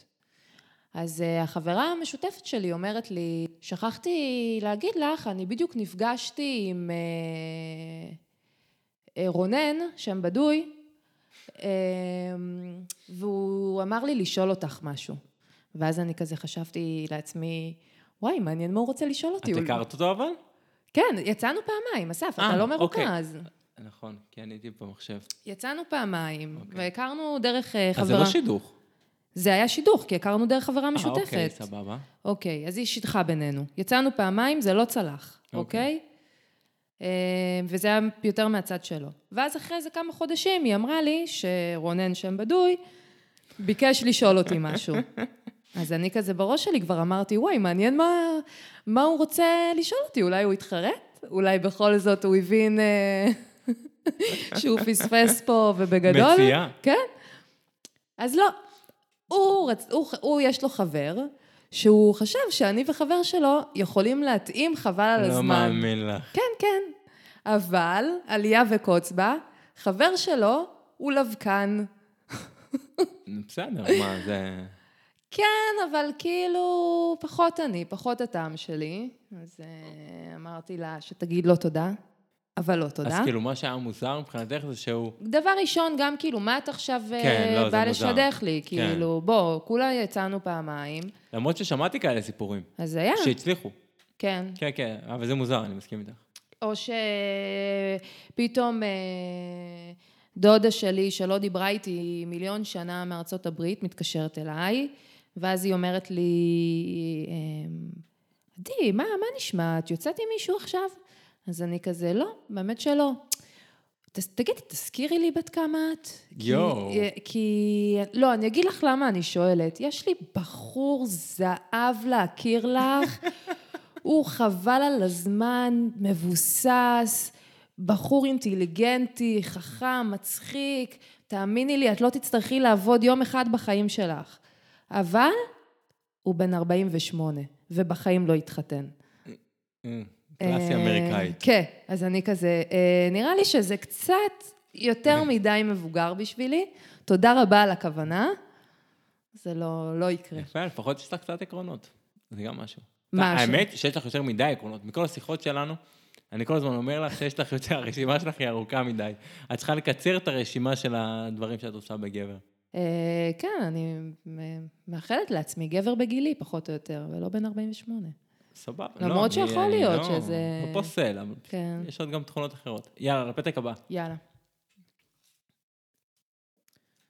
אז אה, החברה המשותפת שלי אומרת לי, שכחתי להגיד לך, אני בדיוק נפגשתי עם אה, אה, רונן, שם בדוי, אה, והוא אמר לי לשאול אותך משהו. ואז אני כזה חשבתי לעצמי, וואי, מעניין מה הוא רוצה לשאול אותי. את הוא- הכרת אותו אבל? כן, יצאנו פעמיים, אסף, אתה אה, לא אוקיי. מרוכז. נכון, כי אני הייתי במחשב. יצאנו פעמיים, אוקיי. והכרנו דרך אה, חברה... אז זה לא שידוך. זה היה שידוך, כי הכרנו דרך חברה אה, משותפת. אוקיי, סבבה. אוקיי, אז היא שידכה בינינו. יצאנו פעמיים, זה לא צלח, אוקיי. אוקיי? אה, וזה היה יותר מהצד שלו. ואז אחרי זה כמה חודשים היא אמרה לי שרונן שם בדוי, ביקש לשאול אותי משהו. אז אני כזה בראש שלי כבר אמרתי, וואי, מעניין מה, מה הוא רוצה לשאול אותי, אולי הוא התחרט? אולי בכל זאת הוא הבין אה, שהוא פספס פה ובגדול? מציאה. כן. אז לא, הוא, רצ... הוא, הוא יש לו חבר, שהוא חשב שאני וחבר שלו יכולים להתאים חבל על לא הזמן. מאמין לך. כן, כן. אבל, עלייה וקוץ בה, חבר שלו הוא לבקן. בסדר, מה, זה... כן, אבל כאילו, פחות אני, פחות הטעם שלי. אז אה, אמרתי לה שתגיד לו תודה, אבל לא תודה. אז כאילו, מה שהיה מוזר מבחינתך זה שהוא... דבר ראשון, גם כאילו, מה את עכשיו אה, כן, לא, זה באה מוזר. לשדך לי? כן. כאילו, בוא, כולה יצאנו פעמיים, למרות ששמעתי כאלה סיפורים, אז היה, שהצליחו. כן. כן, כן, אבל זה מוזר, אני מסכים איתך. או שפתאום אה, דודה שלי, שלא דיברה איתי מיליון שנה מארצות הברית, מתקשרת אליי, ואז היא אומרת לי, אמ, עדי, מה, מה נשמע? את יוצאת עם מישהו עכשיו? אז אני כזה, לא, באמת שלא. "ת- תגידי, תזכירי לי בת כמה את. כי- יואו. אה, כי... לא, אני אגיד לך למה אני שואלת. יש לי בחור זהב להכיר לך, הוא חבל על הזמן, מבוסס, בחור אינטליגנטי, חכם, מצחיק. תאמיני לי, את לא תצטרכי לעבוד יום אחד בחיים שלך. אבל הוא בן 48, ובחיים לא התחתן. אה, קלאסי אה, אמריקאית. כן, אז אני כזה, אה, נראה לי שזה קצת כן. יותר מדי מבוגר בשבילי. תודה רבה על הכוונה. זה לא, לא יקרה. יפה, לפחות יש לך קצת עקרונות. זה גם משהו. משהו. האמת שיש לך יותר מדי עקרונות. מכל השיחות שלנו, אני כל הזמן אומר לך שיש לך יותר, הרשימה שלך היא ארוכה מדי. את צריכה לקצר את הרשימה של הדברים שאת עושה בגבר. אה, כן, אני אה, מאחלת לעצמי גבר בגילי, פחות או יותר, ולא בן 48. סבבה. למרות לא, אני- שיכול אני להיות לא- שזה- לא פוסל, אבל כן, יש עוד גם תכונות אחרות. יאללה, לפתק הבא. יאללה.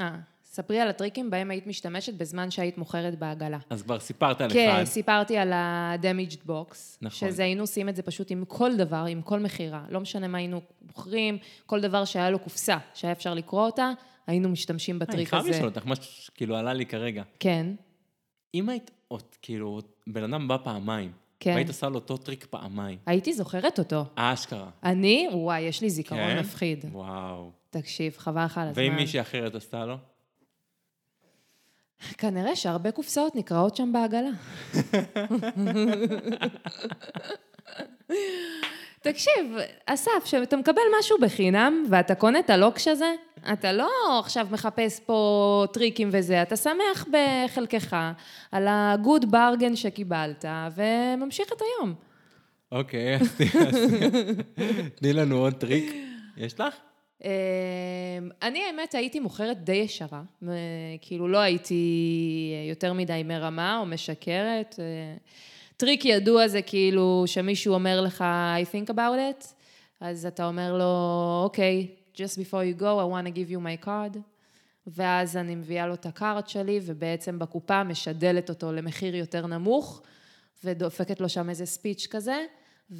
אה, ספרי על הטריקים בהם היית משתמשת בזמן שהיית מוכרת בעגלה. אז כבר סיפרת על כן, אחד. סיפרתי על ה-damaged box. נכון. שזה היינו עושים את זה פשוט עם כל דבר, עם כל מכירה. לא משנה מה היינו מוכרים, כל דבר שהיה לו קופסה, שהיה אפשר לקרוא אותה, היינו משתמשים אה, אני בטריק חייב הזה. לשאול אותך, מה שכאילו עלה לי כרגע. כן, אם היית, עוד- כאילו, בן אדם בא פעמיים, כן. והיית עושה לו אותו טריק פעמיים, הייתי זוכרת אותו. אשכרה. אני, וואי, יש לי זיכרון כן? מפחיד. וואו. תקשיב, חבל לך על הזמן. ואם מישהי אחרת עשתה לו? כנראה שהרבה קופסאות נקראות שם בעגלה. תקשיב, אסף, כשאתה מקבל משהו בחינם ואתה קונה את הלוקש הזה, אתה לא עכשיו מחפש פה טריקים וזה, אתה שמח בחלקך על ה-good bargain שקיבלת וממשיך את היום. אוקיי, אז תני- אז תני לנו עוד טריק. יש לך? אמ, אני, האמת, הייתי מוכרת די ישרה. מ- כאילו, לא הייתי יותר מדי מרמה או משקרת. אה, טריק ידוע זה כאילו שמישהו אומר לך, I think about it, אז אתה אומר לו, אוקיי, okay, just before you go, I want to give you my card. ואז אני מביאה לו את הקארט שלי, ובעצם בקופה משדלת אותו למחיר יותר נמוך, ודופקת לו שם איזה ספיץ' כזה,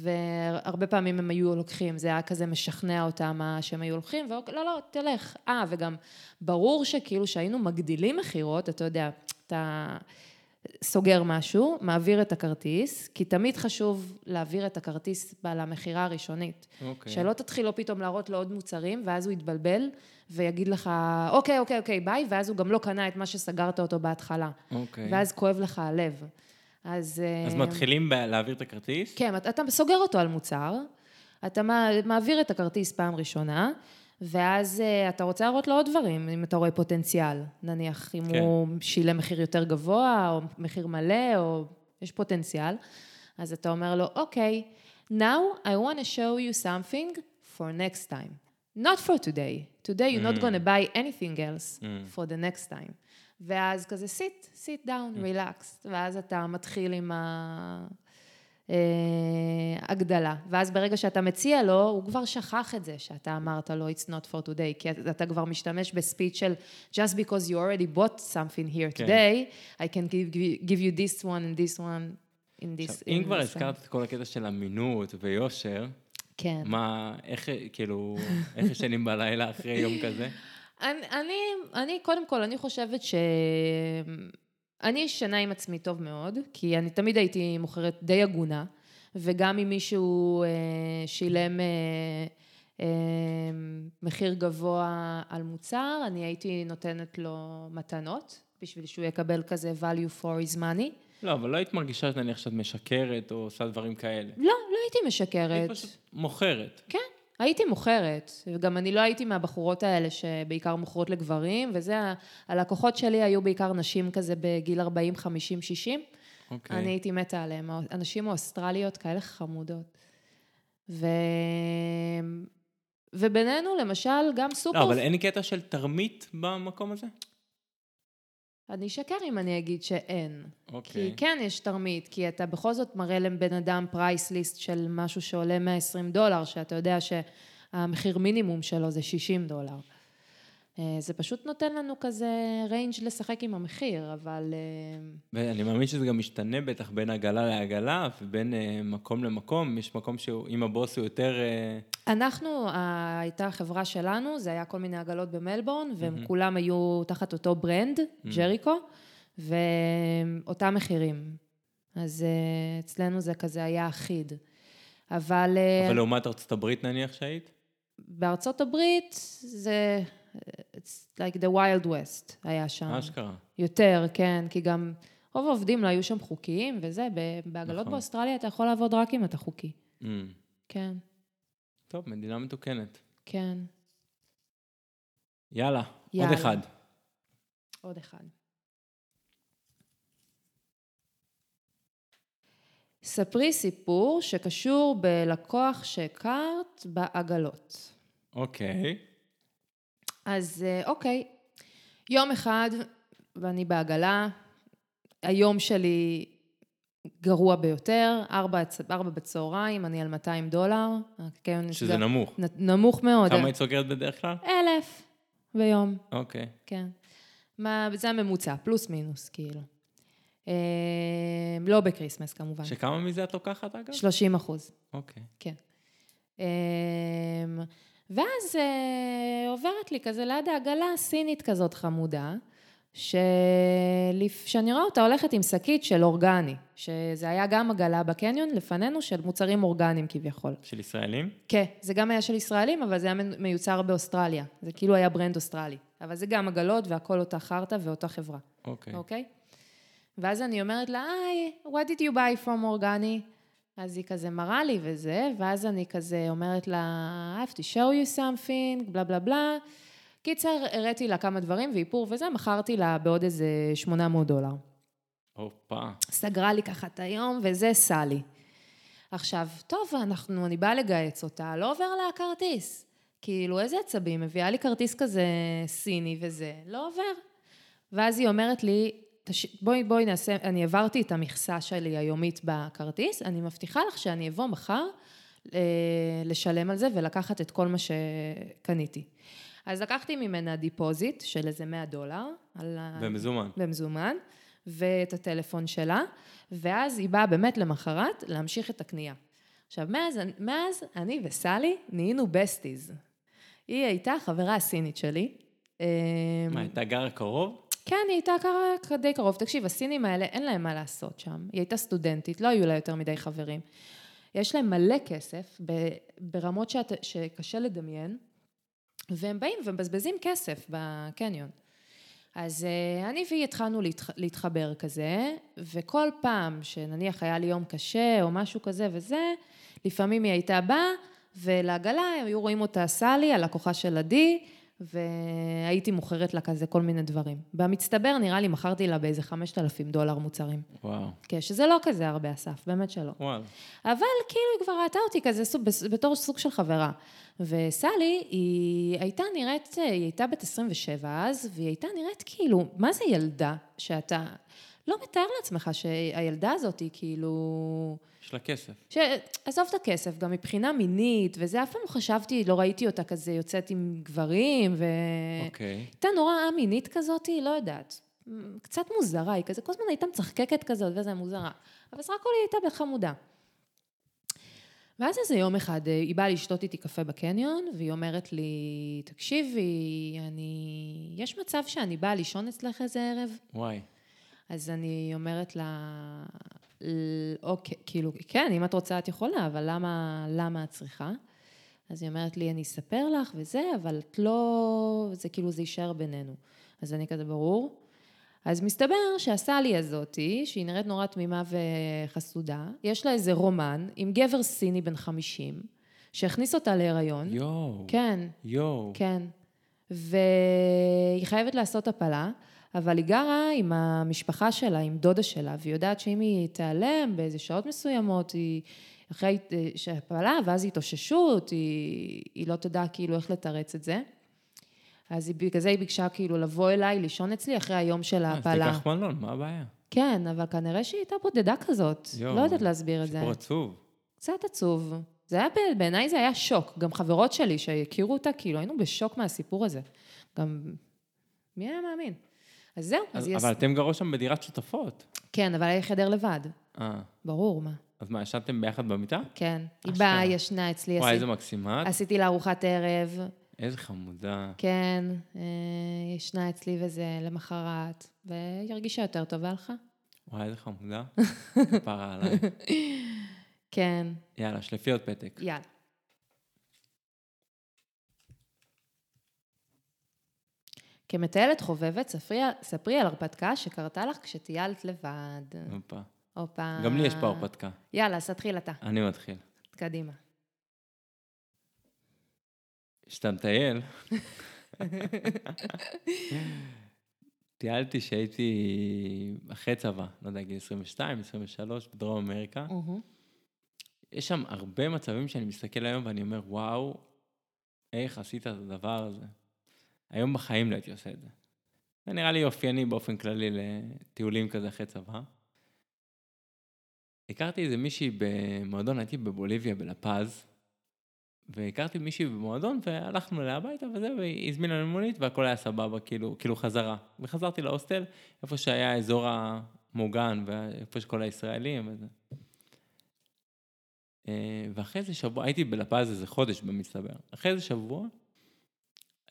והרבה פעמים הם היו לוקחים, זה היה כזה משכנע אותם מה שהם היו לוקחים, ואוקיי, לא, לא, תלך. אה, וגם ברור שכאילו שהיינו מגדילים מכירות, אתה יודע, אתה סוגר משהו, מעביר את הכרטיס, כי תמיד חשוב להעביר את הכרטיס על המכירה הראשונית. אוקיי. שלא תתחיל לו פתאום להראות לו עוד מוצרים, ואז הוא יתבלבל, ויגיד לך, אוקיי, אוקיי, אוקיי, ביי, ואז הוא גם לא קנה את מה שסגרת אותו בהתחלה. אוקיי. ואז כואב לך הלב. אז... אז אה, מתחילים ב- להעביר את הכרטיס? כן, אתה, אתה סוגר אותו על מוצר, אתה מע- מעביר את הכרטיס פעם ראשונה, ואז אה, אתה רוצה להראות לו עוד דברים, אם אתה רואה פוטנציאל. נניח, אם כן. כן. הוא שילם מחיר יותר גבוה, או מחיר מלא, או יש פוטנציאל, אז אתה אומר לו, אוקיי, now I want to show you something for next time. Not for today. Today you're not Mm. going to buy anything else Mm. for the next time. ואז כזה sit, sit down, Mm. relax. ואז אתה מתחיל עם ההגדלה. אה, ואז ברגע שאתה מציע לו, הוא כבר שכח את זה שאתה אמרת לו it's not for today, כי אתה כבר משתמש בספיץ' של just because you already bought something here כן. today, I can give, you- give you this one and this one in this... עכשיו, אם in כבר this הזכרת את כל הקטע של אמינות ויושר, one." כן. מה, איך, כאילו, איך ישנים בלילה אחרי יום כזה? אני, אני, אני, קודם כל, אני חושבת ש... אני ישנה עם עצמי טוב מאוד, כי אני תמיד הייתי מוכרת די הגונה, וגם אם מישהו אה, שילם אה, אה, מחיר גבוה על מוצר, אני הייתי נותנת לו מתנות, בשביל שהוא יקבל כזה value for his money. לא, אבל לא היית מרגישה נניח שאת משקרת או עושה דברים כאלה. לא, לא הייתי משקרת. היית פשוט מוכרת. כן, הייתי מוכרת. וגם אני לא הייתי מהבחורות האלה שבעיקר מוכרות לגברים, וזה, ה- הלקוחות שלי היו בעיקר נשים כזה בגיל 40, 50, 60. אוקיי. אני הייתי מתה עליהן. הנשים האוסטרליות כאלה חמודות. ו... ובינינו, למשל, גם סופר... לא, אבל אין קטע של תרמית במקום הזה? אני אשקר אם אני אגיד שאין. כי אוקיי. כן יש תרמית, כי אתה בכל זאת מראה לבן אדם פרייס ליסט של משהו שעולה 120 דולר, שאתה יודע שהמחיר מינימום שלו זה 60 דולר. אה, זה פשוט נותן לנו כזה ריינג' לשחק עם המחיר, אבל... אה, ואני מאמין שזה גם משתנה בטח בין עגלה לעגלה ובין אה, מקום למקום. יש מקום שאם הבוס הוא יותר... אה, אנחנו, ה- הייתה החברה שלנו, זה היה כל מיני עגלות במלבורן, והם mm-hmm. כולם היו תחת אותו ברנד, mm-hmm. ג'ריקו, ואותם מחירים. אז אה, אצלנו זה כזה היה אחיד. אבל... אה, אבל לעומת ארצות הברית נניח שהיית? בארצות הברית זה, it's like the wild west היה שם. אשכרה. יותר, כן, כי גם רוב העובדים לא היו שם חוקיים וזה, ב- בעגלות נכון. באוסטרליה אתה יכול לעבוד רק אם אתה חוקי. Mm. כן, טוב, מדינה מתוקנת. כן, יאללה, עוד יאללה. אחד. עוד אחד. ספרי סיפור שקשור בלקוח שהכרת בעגלות. אוקיי. אז אה, אוקיי, יום אחד, ואני בעגלה, היום שלי גרוע ביותר, ארבע, הצ- ארבע בצהריים, אני על 200 דולר. הקניון שזה נסגר- נמוך. נ- נמוך מאוד. כמה היית סוגרת בדרך כלל? אלף ביום. אוקיי. כן. מה, זה הממוצע, פלוס מינוס, כאילו. אה, לא בקריסמס כמובן. שכמה מזה את לוקחת אגב? 30 אחוז. אוקיי. כן. אמ, ואז אה, עוברת לי כזה ליד העגלה סינית כזאת חמודה, שלפ- שאני רואה אותה הולכת עם שקית של אורגני, שזה היה גם עגלה בקניון לפנינו של מוצרים אורגניים כביכול. של ישראלים? כן, זה גם היה של ישראלים, אבל זה היה מיוצר באוסטרליה. זה כאילו היה ברנד אוסטרלי. אבל זה גם עגלות והכל אותה חרטא ואותה חברה. אוקיי. אוקיי? ואז אני אומרת לה, היי, what did you buy from אורגני? אז היא כזה מראה לי וזה, ואז אני כזה אומרת לה, I have to show you something, בלה בלה בלה. קיצר, הראתי לה כמה דברים ואיפור וזה, מכרתי לה בעוד איזה 800 דולר. הופה. אה. סגרה לי ככה את היום, וזה סלי. עכשיו, טוב, אנחנו, אני באה לגייס אותה, לא עובר לה הכרטיס. כאילו, איזה עצבים, מביאה לי כרטיס כזה סיני וזה, לא עובר. ואז היא אומרת לי, תש... בואי, בואי נעשה, אני העברתי את המכסה שלי היומית בכרטיס, אני מבטיחה לך שאני אבוא מחר אה, לשלם על זה ולקחת את כל מה שקניתי. אז לקחתי ממנה דיפוזיט של איזה 100 דולר, על ה... במזומן. במזומן, ואת הטלפון שלה, ואז היא באה באמת למחרת להמשיך את הקנייה. עכשיו, מאז, מאז אני וסלי נהיינו בסטיז. היא הייתה חברה הסינית שלי. אה, מה, הייתה גרה קרוב? כן, היא הייתה ככה די קרוב. תקשיב, הסינים האלה, אין להם מה לעשות שם. היא הייתה סטודנטית, לא היו לה יותר מדי חברים. יש להם מלא כסף, ב- ברמות שאת, שקשה לדמיין, והם באים ומבזבזים כסף בקניון. אז אה, אני והיא התחלנו להתח... להתחבר כזה, וכל פעם שנניח היה לי יום קשה או משהו כזה וזה, לפעמים היא הייתה באה, ולעגלה היו רואים אותה סלי, הלקוחה של עדי, והייתי מוכרת לה כזה כל מיני דברים. במצטבר, נראה לי, מכרתי לה באיזה 5,000 דולר מוצרים. וואו. כן, שזה לא כזה הרבה, אסף, באמת שלא. וואלה. אבל כאילו היא כבר ראתה אותי כזה סוג, בס- בתור סוג של חברה. וסלי, היא הייתה נראית, היא הייתה בת 27 אז, והיא הייתה נראית כאילו, מה זה ילדה שאתה לא מתאר לעצמך שהילדה הזאת היא כאילו... יש לה כסף. שעזוב את הכסף, גם מבחינה מינית, וזה אף פעם לא חשבתי, לא ראיתי אותה כזה יוצאת עם גברים, ו... אוקיי. הייתה נורא א-מינית כזאת, לא יודעת. מ, קצת מוזרה, היא כזה, כל הזמן הייתה מצחקקת כזאת, וזה מוזרה. אבל סך הכל היא הייתה חמודה. ואז איזה יום אחד, אה, היא באה לשתות איתי קפה בקניון, והיא אומרת לי, תקשיבי, אני... יש מצב שאני באה לישון אצלך איזה ערב? וואי. אז אני אומרת לה, "ל- אוקיי, כאילו, כן, אם את רוצה את יכולה, אבל למה, למה את צריכה? אז היא אומרת לי, אני אספר לך וזה, אבל את לא... זה כאילו, זה יישאר בינינו. אז אני כזה, ברור. אז מסתבר שהסלי הזאתי, שהיא נראית נורא תמימה וחסודה, יש לה איזה רומן עם גבר סיני בן 50, שהכניס אותה להיריון. יואו. כן, יואו. כן. והיא חייבת לעשות הפלה, אבל היא גרה עם המשפחה שלה, עם דודה שלה, והיא יודעת שאם היא תיעלם באיזה שעות מסוימות, היא אחרי אה, שהפלה, ואז היא התאוששות, היא, היא לא תדע כאילו איך לתרץ את זה. אז היא, בגלל זה היא ביקשה כאילו לבוא אליי, לישון אצלי אחרי היום של אה, אז ההפלה. תיקח מלון, מה הבעיה? כן, אבל כנראה שהיא הייתה בודדה כזאת. יואו, לא יודעת להסביר את זה. סיפור עצוב. קצת עצוב. זה היה, ב- בעיניי זה היה שוק. גם חברות שלי שהכירו אותה, כאילו, היינו בשוק מהסיפור הזה. גם... מי היה מאמין? אז זהו, אז, אז- אז יש... אבל אתם גרו שם בדירת שותפות. כן, אבל היה חדר לבד. אה. ברור, מה. אז מה, ישנתם ביחד במיטה? כן. היא אשכרה. באה, ישנה אצלי, אה, וואי, עשיתי, איזה מקסימה. את. עשיתי לה ארוחת ערב. איזה חמודה. כן, אה, ישנה אצלי וזה למחרת. והיא הרגישה יותר טוב, והלכה. וואי, איזה חמודה. כפרה עליי. כן, יאללה, שלפי עוד פתק. יאללה. כמטיילת חובבת, ספרי, ספרי על הרפתקה שקרתה לך כשטיילת לבד. הופה. הופה. גם לי יש פה הרפתקה. יאללה, אז תתחיל אתה. אני מתחיל. קדימה. כשאתה מטייל... טיילתי שהייתי אחרי צבא, לא יודע, גיל 22, 23, בדרום אמריקה. יש שם הרבה מצבים שאני מסתכל היום ואני אומר, וואו, איך עשית את הדבר הזה. היום בחיים לא הייתי עושה את זה. זה נראה לי אופייני באופן כללי לטיולים כזה אחרי צבא. הכרתי איזה מישהי במועדון, הייתי בבוליביה, בלפז, והכרתי מישהי במועדון, והלכנו אליה הביתה וזה, והיא הזמינה לנו מונית, והכל היה סבבה, כאילו, כאילו חזרה. וחזרתי להוסטל, איפה שהיה האזור המוגן, ואיפה שכל הישראלים וזה. אה, ואחרי איזה שבוע, הייתי בלפז איזה חודש במצטבר. אחרי איזה שבוע,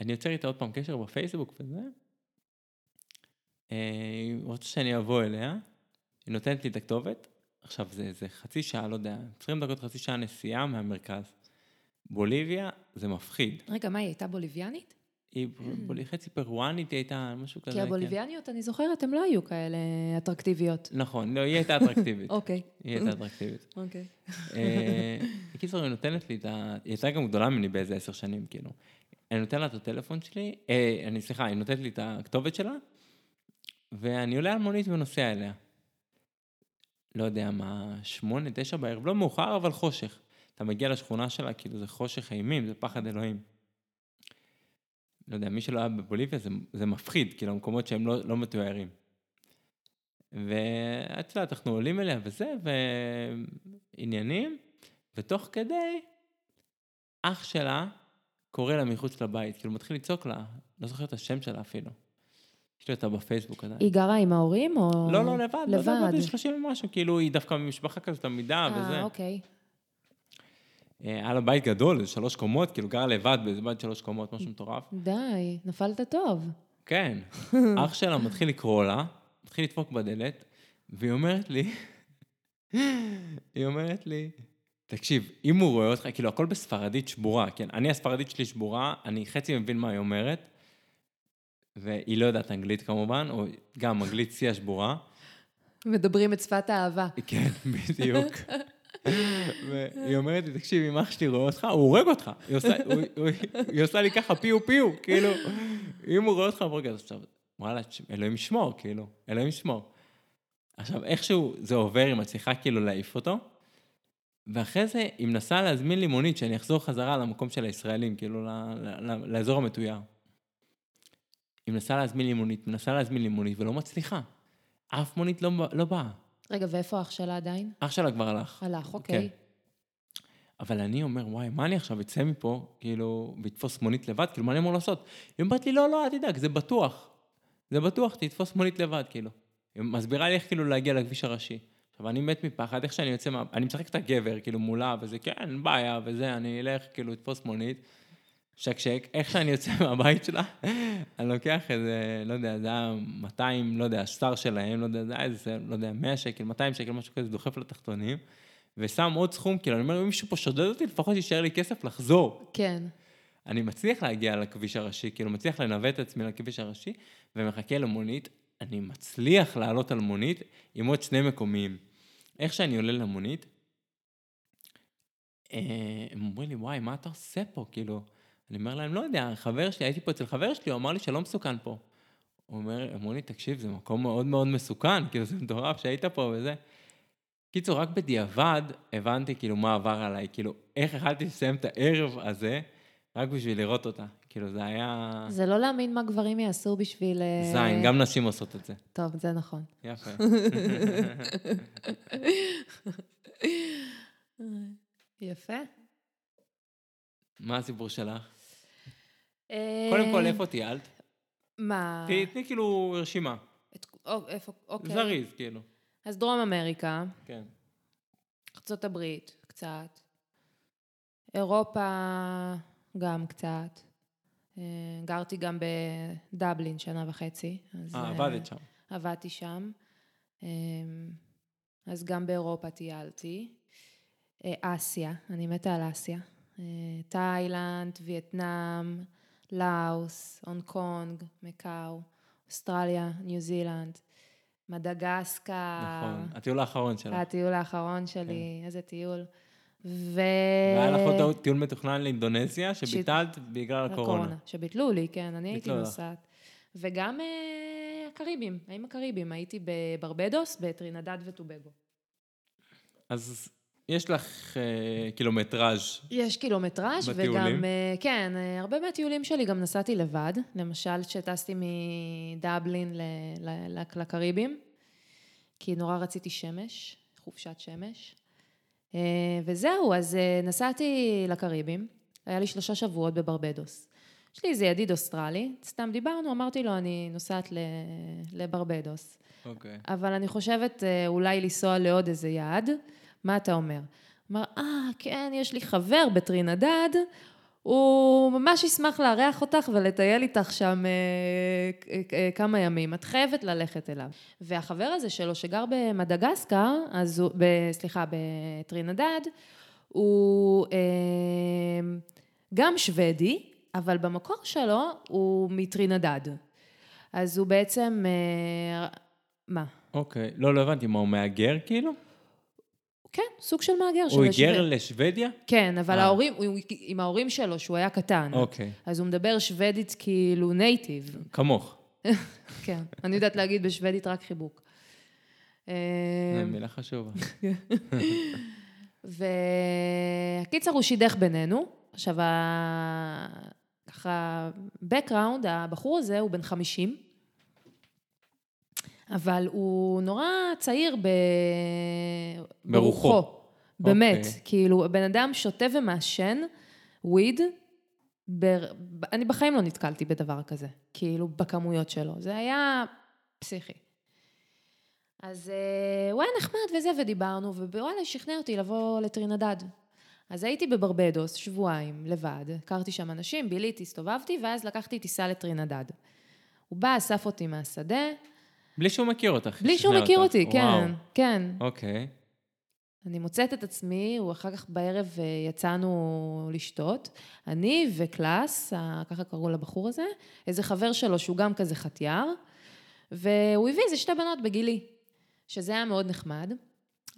אני יוצר איתה עוד פעם קשר בפייסבוק וזה. אה, היא רוצה שאני אבוא אליה, היא נותנת לי את הכתובת. עכשיו, זה, זה חצי שעה, לא יודע, 20 דקות, חצי שעה נסיעה מהמרכז. בוליביה זה מפחיד. רגע, מה, היא הייתה בוליביאנית? היא בול... חצי פרואנית, היא הייתה משהו כזה. Mm. כי כן. הבוליביאניות, אני זוכרת, הן לא היו כאלה אטרקטיביות. נכון, לא, היא הייתה אטרקטיבית. אוקיי. היא הייתה אטרקטיבית. אוקיי. אה, בקיצור, היא נותנת לי את ה... היא הייתה גם גדולה ממני באיזה עשר שנים, כאילו. אני נותן לה את הטלפון שלי, אה, אני, סליחה, היא נותנת לי את הכתובת שלה, ואני עולה על מונית ונוסע אליה. לא יודע מה, שמונה, תשע בערב, לא מאוחר, אבל חושך. אתה מגיע לשכונה שלה, כאילו זה חושך אימים, זה פחד אלוהים. לא יודע, מי שלא היה בבוליביה זה, זה מפחיד, כאילו, המקומות שהם לא, לא מתוארים. ואת יודעת, אנחנו עולים אליה וזה, ועניינים, ותוך כדי, אח שלה קורא לה מחוץ לבית, כאילו מתחיל לצעוק לה, לא זוכר את השם שלה אפילו. יש לי אותה בפייסבוק עדיין. היא גרה עם ההורים או... לא, לא, לבד, לבד. לבד. לבד, בגיל 30 ומשהו, כאילו, היא דווקא ממשפחה כזאת עמידה אה, וזה. אוקיי. אה, היה לה בית גדול, איזה שלוש קומות, כאילו, גרה לבד באיזה בית שלוש קומות, משהו מטורף. די, נפלת טוב. כן. אח שלה מתחיל לקרוא לה, מתחיל לדפוק בדלת, והיא אומרת לי, היא אומרת לי, תקשיב, אם הוא רואה אותך, כאילו, הכל בספרדית שבורה, כן? אני, הספרדית שלי שבורה, אני חצי מבין מה היא אומרת, והיא לא יודעת אנגלית כמובן, או גם אנגלית שיא השבורה. מדברים את שפת האהבה. כן, בדיוק. והיא אומרת לי, תקשיב, אם אח שלי רואה אותך, הוא הורג אותך. היא עושה, הוא, הוא, היא עושה לי ככה פיו פיו, כאילו, אם הוא רואה אותך, הוא הורג אותך. עכשיו, וואלה, תש- אלוהים ישמור, כאילו, אלוהים ישמור. עכשיו, איכשהו זה עובר, היא מצליחה כאילו להעיף אותו, ואחרי זה היא מנסה להזמין לי מונית, שאני אחזור חזרה למקום של הישראלים, כאילו, ל, ל, ל, לאזור המתויר. היא מנסה להזמין לי מונית, מנסה להזמין לי מונית, ולא מצליחה. אף מונית לא, לא באה. רגע, ואיפה אח שלה עדיין? אח שלה כבר הלך. הלך, אוקיי. כן. אבל אני אומר, וואי, מה אני עכשיו אצא מפה, כאילו, ואתפוס מונית לבד? כאילו, מה אני אמור לעשות? היא אומרת לי, לא, לא, אל תדאג, זה בטוח. זה בטוח, תתפוס מונית לבד, כאילו. היא מסבירה לי איך כאילו להגיע לכביש הראשי. עכשיו, אני מת מפחד, איך שאני יוצא מה... אני משחק את הגבר, כאילו, מולה, וזה, כן, אין בעיה, וזה, אני אלך, כאילו, אתפוס מונית, שקשק, איך שאני יוצא מהבית שלה, אני לוקח איזה, לא יודע, זה היה 200, לא יודע, שר שלהם, לא יודע, זה היה איזה, לא יודע, 100 שקל, 200 שקל, משהו כזה, דוחף לתחתונים, ושם עוד סכום, כאילו, אני אומר, אם מישהו פה שודד אותי, לפחות יישאר לי כסף לחזור. כן. אני מצליח להגיע לכביש הראשי, כאילו מצליח לנווט את עצמי לכביש הראשי, ומחכה למונית, אני מצליח לעלות על מונית עם עוד שני מקומיים. איך שאני עולה למונית, אה, הם אומרים לי, וואי, מה אתה עושה פה? כאילו, אני אומר להם, לא יודע, חבר שלי, הייתי פה אצל חבר שלי, הוא אמר לי שלא מסוכן פה. הוא אומר, אמרו לי, תקשיב, זה מקום מאוד מאוד מסוכן, כאילו, זה מטורף שהיית פה וזה. קיצור, רק בדיעבד הבנתי כאילו מה עבר עליי, כאילו, איך יכלתי לסיים את הערב הזה רק בשביל לראות אותה. כאילו, זה היה... זה לא להאמין מה גברים יעשו בשביל... אה, זין, גם נשים עושות את זה. טוב, זה נכון. יפה. יפה. מה הסיפור שלך? אה, קודם כל, איפה טיילת? מה? ת- תני כאילו רשימה. את- או- איפה? אוקיי. זריז, כאילו. אז דרום אמריקה, כן. ארצות הברית, קצת. אירופה, גם קצת. אה, גרתי גם בדבלין שנה וחצי. אז, אה, אה, עבדת שם. עבדתי שם. אה, אז גם באירופה טיילתי. אה, אסיה, אני מתה על אסיה. אה, תאילנד, וייטנאם, לאוס, הונג קונג, מקאו, אוסטרליה, ניו זילנד, מדגסקר. נכון. הטיול האחרון שלך. הטיול האחרון שלי, איזה טיול. ו... והיה אה, לך עוד טיול מתוכנן לאינדונזיה, שביטלת בגלל הקורונה. הקורונה. שביטלו לי, כן, אני הייתי ביטלו לך. נוסעת. וגם אה, הקריבים, האם הקריבים, הייתי בברבדוס, בטרינדד וטובגו. אז יש לך אה, קילומטראז' יש קילומטראז' בטיולים? וגם, אה, כן, אה, הרבה מהטיולים שלי גם נסעתי לבד. למשל, כשטסתי מדבלין ל- ל- לק- לקריבים, כי נורא רציתי שמש, חופשת שמש. אה, וזהו, אז אה, נסעתי לקריבים, היה לי שלושה שבועות בברבדוס. יש לי איזה ידיד אוסטרלי, סתם דיברנו, אמרתי לו, אני נוסעת ל- לברבדוס. אוקיי. אבל אני חושבת אה, אולי לנסוע לעוד איזה יעד. מה אתה אומר? אמר, אה, כן, יש לי חבר בטרינדד, הוא ממש ישמח לארח אותך ולטייל איתך שם אה, כ- אה, כמה ימים. את חייבת ללכת אליו. והחבר הזה שלו, שגר במדגסקר, אז הוא, ב, סליחה, בטרינדד, הוא אה, גם שוודי, אבל במקור שלו הוא מטרינדד. אז הוא בעצם... אה, מה? אוקיי. לא, לא הבנתי, מה, הוא מהגר כאילו? לא, כן, סוג של מהגר. הוא של היגר שווה. לשוודיה? כן, אבל אה. ההורים, הוא, עם ההורים שלו, שהוא היה קטן. אוקיי. אז הוא מדבר שוודית כאילו נייטיב. כמוך. כן, אני יודעת להגיד בשוודית רק חיבוק. אה, זו מילה חשובה. וקיצר, הוא שידך בינינו. עכשיו, ה... ככה, background, הבחור הזה הוא בן 50, אבל הוא נורא צעיר ב... ברוחו. באמת, אוקיי. okay. כאילו, בן אדם שותה ומעשן וויד, בר... אני בחיים לא נתקלתי בדבר כזה, כאילו, בכמויות שלו. זה היה פסיכי. אז אה, הוא היה נחמד וזה, ודיברנו, ווואלה, שכנע אותי לבוא לטרינדד. אז הייתי בברבדוס שבועיים לבד, הכרתי שם אנשים, ביליתי, הסתובבתי, ואז לקחתי טיסה לטרינדד. הוא בא, אסף אותי מהשדה, בלי שהוא מכיר אותך. בלי שהוא שכנע מכיר אותך. אותי, כן, וואו. כן. אוקיי. אני מוצאת את עצמי, הוא אחר כך בערב אה, יצאנו לשתות. אני וקלאס, ה- ככה קראו לבחור הזה, איזה חבר שלו שהוא גם כזה חטיאר, והוא הביא איזה שתי בנות בגילי, שזה היה מאוד נחמד.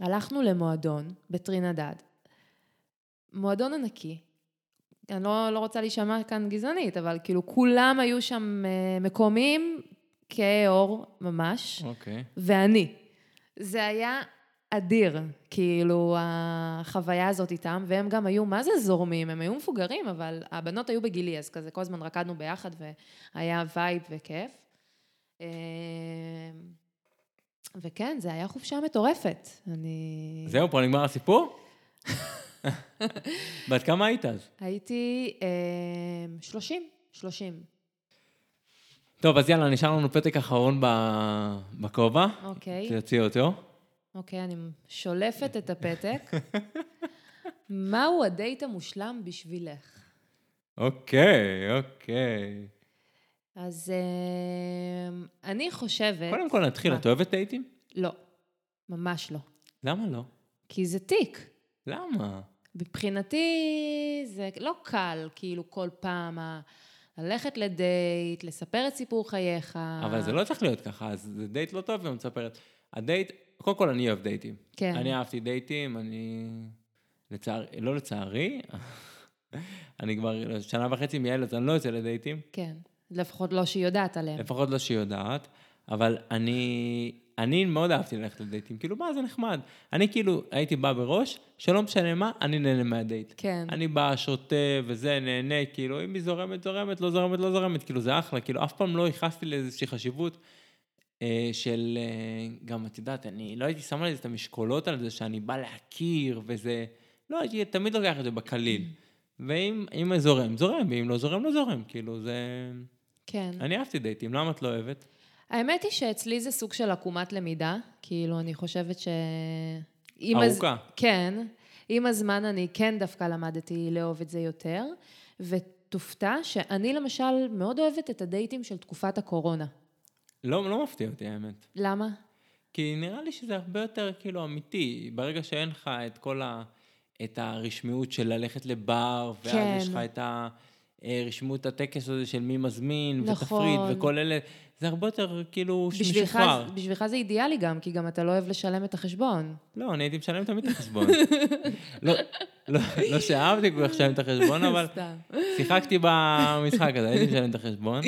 הלכנו למועדון בטרינדד, מועדון ענקי. אני לא, לא רוצה להישמע כאן גזענית, אבל כאילו כולם היו שם אה, מקומיים כהי עור ממש, אוקיי. ואני. זה היה אדיר, כאילו, החוויה הזאת איתם, והם גם היו, מה זה זורמים? הם היו מבוגרים, אבל הבנות היו בגילי, אז כזה כל הזמן רקדנו ביחד, והיה וייב וכיף. אה, וכן, זה היה חופשה מטורפת. אני... זהו, פה נגמר הסיפור? בת כמה היית אז? הייתי אה, 30, 30. טוב, אז יאללה, נשאר לנו פתק אחרון ב- בכובע. אוקיי. תרצי אותו. אוקיי, אני שולפת את הפתק. מהו הדייט המושלם בשבילך? אוקיי, אוקיי. אז אה, אני חושבת... קודם כל נתחיל, מה? את אוהבת דייטים? לא, ממש לא. למה לא? כי זה תיק. למה? מבחינתי זה לא קל, כאילו, כל פעם ה... ללכת לדייט, לספר את סיפור חייך. אבל זה לא צריך להיות ככה, אז זה דייט לא טוב, והיא מספרת. הדייט, קודם כל, אני אוהב דייטים. כן. אני אהבתי דייטים, אני... לצערי, לא לצערי, אני כבר שנה וחצי מילד, אז אני לא יוצא לדייטים, כן, לפחות לא שהיא יודעת עליהם. לפחות לא שהיא יודעת, אבל אני... אני מאוד אהבתי ללכת לדייטים, כאילו, מה, זה נחמד. אני כאילו הייתי בא בראש, שלא משנה מה, אני נהנה מהדייט. כן. אני בא, שותה וזה, נהנה, כאילו, אם היא זורמת, זורמת, לא זורמת, לא זורמת, כאילו, זה אחלה, כאילו, אף פעם לא ייחסתי לאיזושהי חשיבות אה, של, אה, גם, את יודעת, אני לא הייתי שם על זה את המשקולות על זה, שאני בא להכיר, וזה, לא, הייתי תמיד לוקח את זה בקליל. ואם אם זורם, זורם, ואם לא זורם, לא זורם, כאילו, זה... כן. אני אהבתי דייטים, למה את לא אוהבת? האמת היא שאצלי זה סוג של עקומת למידה, כאילו, אני חושבת ש... עם הז- ארוכה. כן. עם הזמן אני כן דווקא למדתי לאהוב את זה יותר, ותופתע שאני למשל מאוד אוהבת את הדייטים של תקופת הקורונה. לא, לא מפתיע אותי, האמת. למה? כי נראה לי שזה הרבה יותר כאילו אמיתי. ברגע שאין לך את כל ה... את הרשמיות של ללכת לבר, ואז כן. יש לך את הרשמיות הטקס הזה של מי מזמין, נכון. ותפריט וכל אלה, זה הרבה יותר כאילו בשבילך, משוחרר. בשבילך זה אידיאלי גם, כי גם אתה לא אוהב לשלם את החשבון. לא, אני הייתי משלם תמיד את החשבון. לא, לא, לא שאהבתי כל כך לשלם את החשבון, אבל סתם. שיחקתי במשחק הזה, הייתי משלם את החשבון.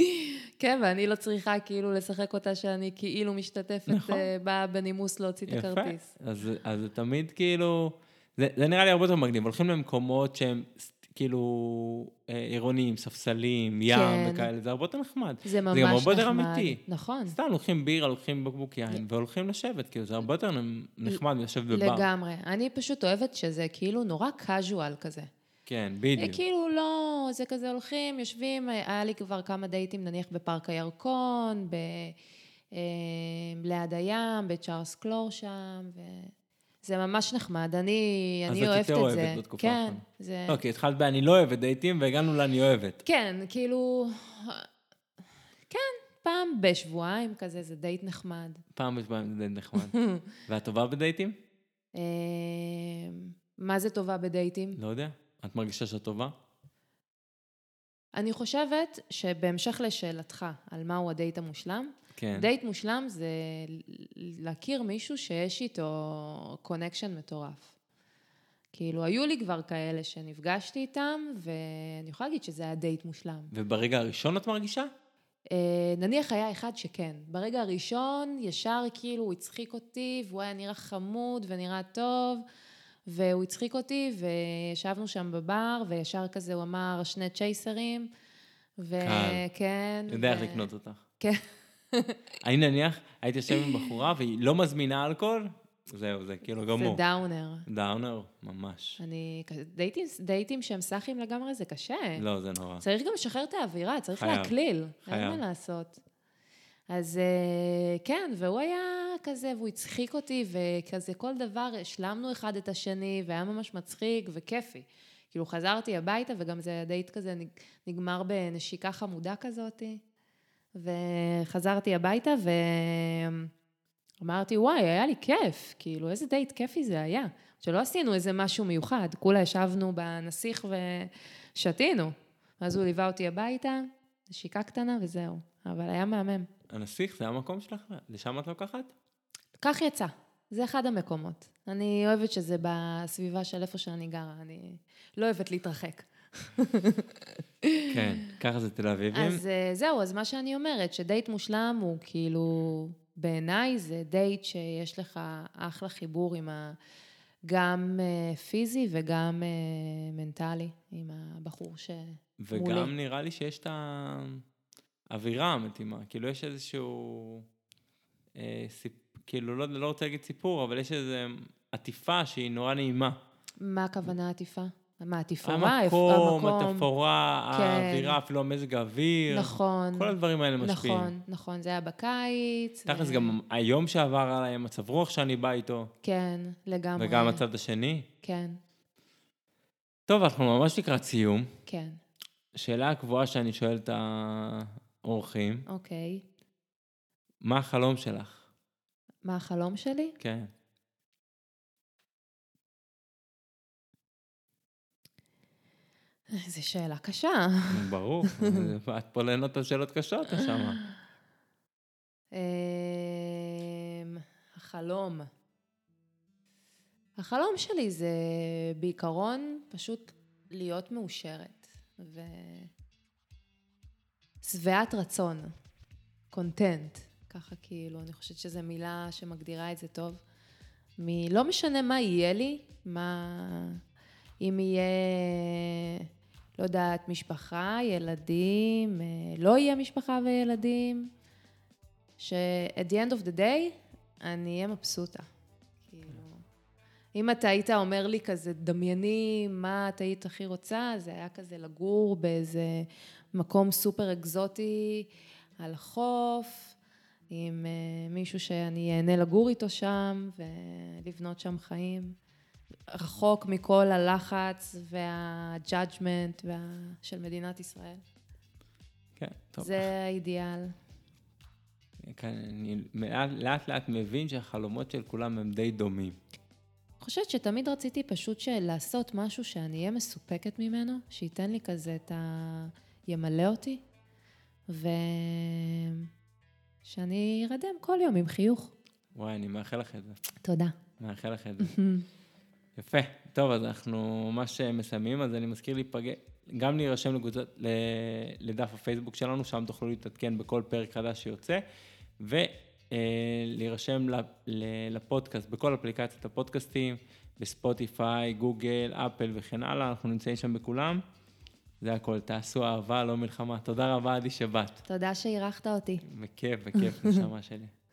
כן, ואני לא צריכה כאילו לשחק אותה שאני כאילו משתתפת, נכון. אה, באה בנימוס להוציא את הכרטיס. יפה, אז, אז זה תמיד כאילו, זה, זה נראה לי הרבה יותר מגניב, הולכים למקומות שהם ס- כאילו אה, עירוניים, ספסלים, ים כן. וכאלה, זה הרבה יותר נחמד. זה ממש זה גם נחמד. הרבה יותר אמיתי. נכון. סתם לוקחים בירה, לוקחים בקבוק יין והולכים לשבת, כאילו זה הרבה יותר נחמד לשבת בבר. לגמרי. אני פשוט אוהבת שזה כאילו נורא קאז'ואל כזה. כן, אה, בדיוק. כאילו לא, זה כזה הולכים, יושבים, אה, היה לי כבר כמה דייטים נניח בפארק הירקון, ב... אה, ליד הים, בצ'ארלס קלור שם, ו... זה ממש נחמד, אני, אז אני את אוהבת יותר את אוהבת זה. בתקופה כן, האחרונה. זה... לא, כי התחלת ב"אני לא אוהבת דייטים" והגענו ל"אני אוהבת". כן, כאילו... כן, פעם בשבועיים כזה, זה דייט נחמד. פעם בשבועיים זה נחמד. ואת טובה בדייטים? אה, מה זה טובה בדייטים? לא יודע. את מרגישה שאת טובה? אני חושבת שבהמשך לשאלתך על מהו הדייט המושלם, כן. דייט מושלם זה להכיר מישהו שיש איתו קונקשן מטורף. כאילו, היו לי כבר כאלה שנפגשתי איתם, ואני יכולה להגיד שזה היה דייט מושלם. וברגע הראשון את מרגישה? אה, נניח היה אחד שכן. ברגע הראשון, ישר כאילו הוא הצחיק אותי, והוא היה נראה חמוד ונראה טוב, והוא הצחיק אותי, וישבנו שם בבר, וישר כזה הוא אמר שני צ'ייסרים, קל. וכן. יודע איך ו- לקנות אותך. כן. אני נניח, הייתי יושב עם בחורה והיא לא מזמינה אלכוהול, זהו, זה כאילו זה גמור. דאונר. דאונר, ממש. אני... דייטים, דייטים שהם סאחים לגמרי זה קשה. לא, זה נורא. צריך גם לשחרר את האווירה, צריך חייב, להקליל. אין חייב. מה לעשות. אז אה, כן, והוא היה כזה, והוא הצחיק אותי, וכזה כל דבר, השלמנו אחד את השני, והיה ממש מצחיק וכיפי. כאילו, חזרתי הביתה, וגם זה הדייט כזה נג- נגמר בנשיקה חמודה כזאתי. וחזרתי הביתה, ואמרתי, וואי, היה לי כיף. כאילו, איזה דייט כיפי זה היה. שלא עשינו איזה משהו מיוחד, כולה ישבנו בנסיך ושתינו. אז הוא ליווה אותי הביתה, נשיקה קטנה וזהו. אבל היה מהמם. הנסיך זה המקום שלך? לשם את לוקחת? כך יצא. זה אחד המקומות. אני אוהבת שזה בסביבה של איפה שאני גרה, אני לא אוהבת להתרחק. כן, ככה זה תל אביבים. אז אה, זהו, אז מה שאני אומרת, שדייט מושלם הוא כאילו, בעיניי זה דייט שיש לך אחלה חיבור עם ה... גם אה, פיזי וגם אה, מנטלי, עם הבחור ש... וגם מעולה. נראה לי שיש את האווירה המתאימה. כאילו, יש איזשהו... אה, סיפ... כאילו, לא, לא רוצה להגיד סיפור, אבל יש איזו עטיפה שהיא נורא נעימה. מה הכוונה עטיפה? מה, התפאורה? המקום, התפאורה, כן. האווירה, אפילו המזג האוויר. נכון. כל הדברים האלה משפיעים. נכון, נכון, זה היה בקיץ. תכלס, ו- גם היום שעבר עליי, המצב רוח שאני בא איתו, כן, לגמרי. וגם הצד השני. כן, טוב, אנחנו ממש לקראת סיום. כן, שאלה הקבועה שאני שואל את האורחים, אוקיי. מה החלום שלך? מה החלום שלי? כן. זו שאלה קשה. נו, ברור, את פה ליהנות על שאלות קשות שמה. אמ, החלום. החלום שלי זה בעיקרון פשוט להיות מאושרת ו... שבעת רצון, קונטנט, ככה כאילו, אני חושבת שזו מילה שמגדירה את זה טוב. מ... לא משנה מה יהיה לי, מה... אם יהיה, לא יודעת, משפחה, ילדים, אה, לא יהיה משפחה וילדים, ש-at the end of the day, אני אהיה מבסוטה. כאילו, אם אתה היית אומר לי כזה, דמייני מה את היית הכי רוצה, זה היה כזה לגור באיזה מקום סופר אקזוטי על החוף, עם אה, מישהו שאני אהנה לגור איתו שם ולבנות שם חיים. רחוק מכל הלחץ וה-judgment וה... של מדינת ישראל. כן, טוב. זה האידיאל. כן, אני לאט- לאט לאט מבין שהחלומות של כולם הם די דומים. חושבת שתמיד רציתי פשוט של- לעשות משהו שאני אהיה מסופקת ממנו, שייתן לי כזה את ה... ימלא אותי, ושאני ארדם כל יום עם חיוך. וואי, אני מאחל לך את זה. תודה. מאחל לך את זה. יפה. טוב, אז אנחנו ממש אה, מסיימים, אז אני מזכיר להיפגע, גם להירשם לקבוצת, ל- לדף הפייסבוק שלנו, שם תוכלו להתעדכן בכל פרק חדש שיוצא, אה, ולהירשם לפודקאסט, בכל אפליקציות הפודקאסטים, בספוטיפיי, גוגל, אפל וכן הלאה, אנחנו נמצאים שם בכולם. זה הכל, תעשו אהבה, לא מלחמה. תודה רבה, עדי, שבאת. תודה שאירחת אותי. בכיף, בכיף, נשמה שלי.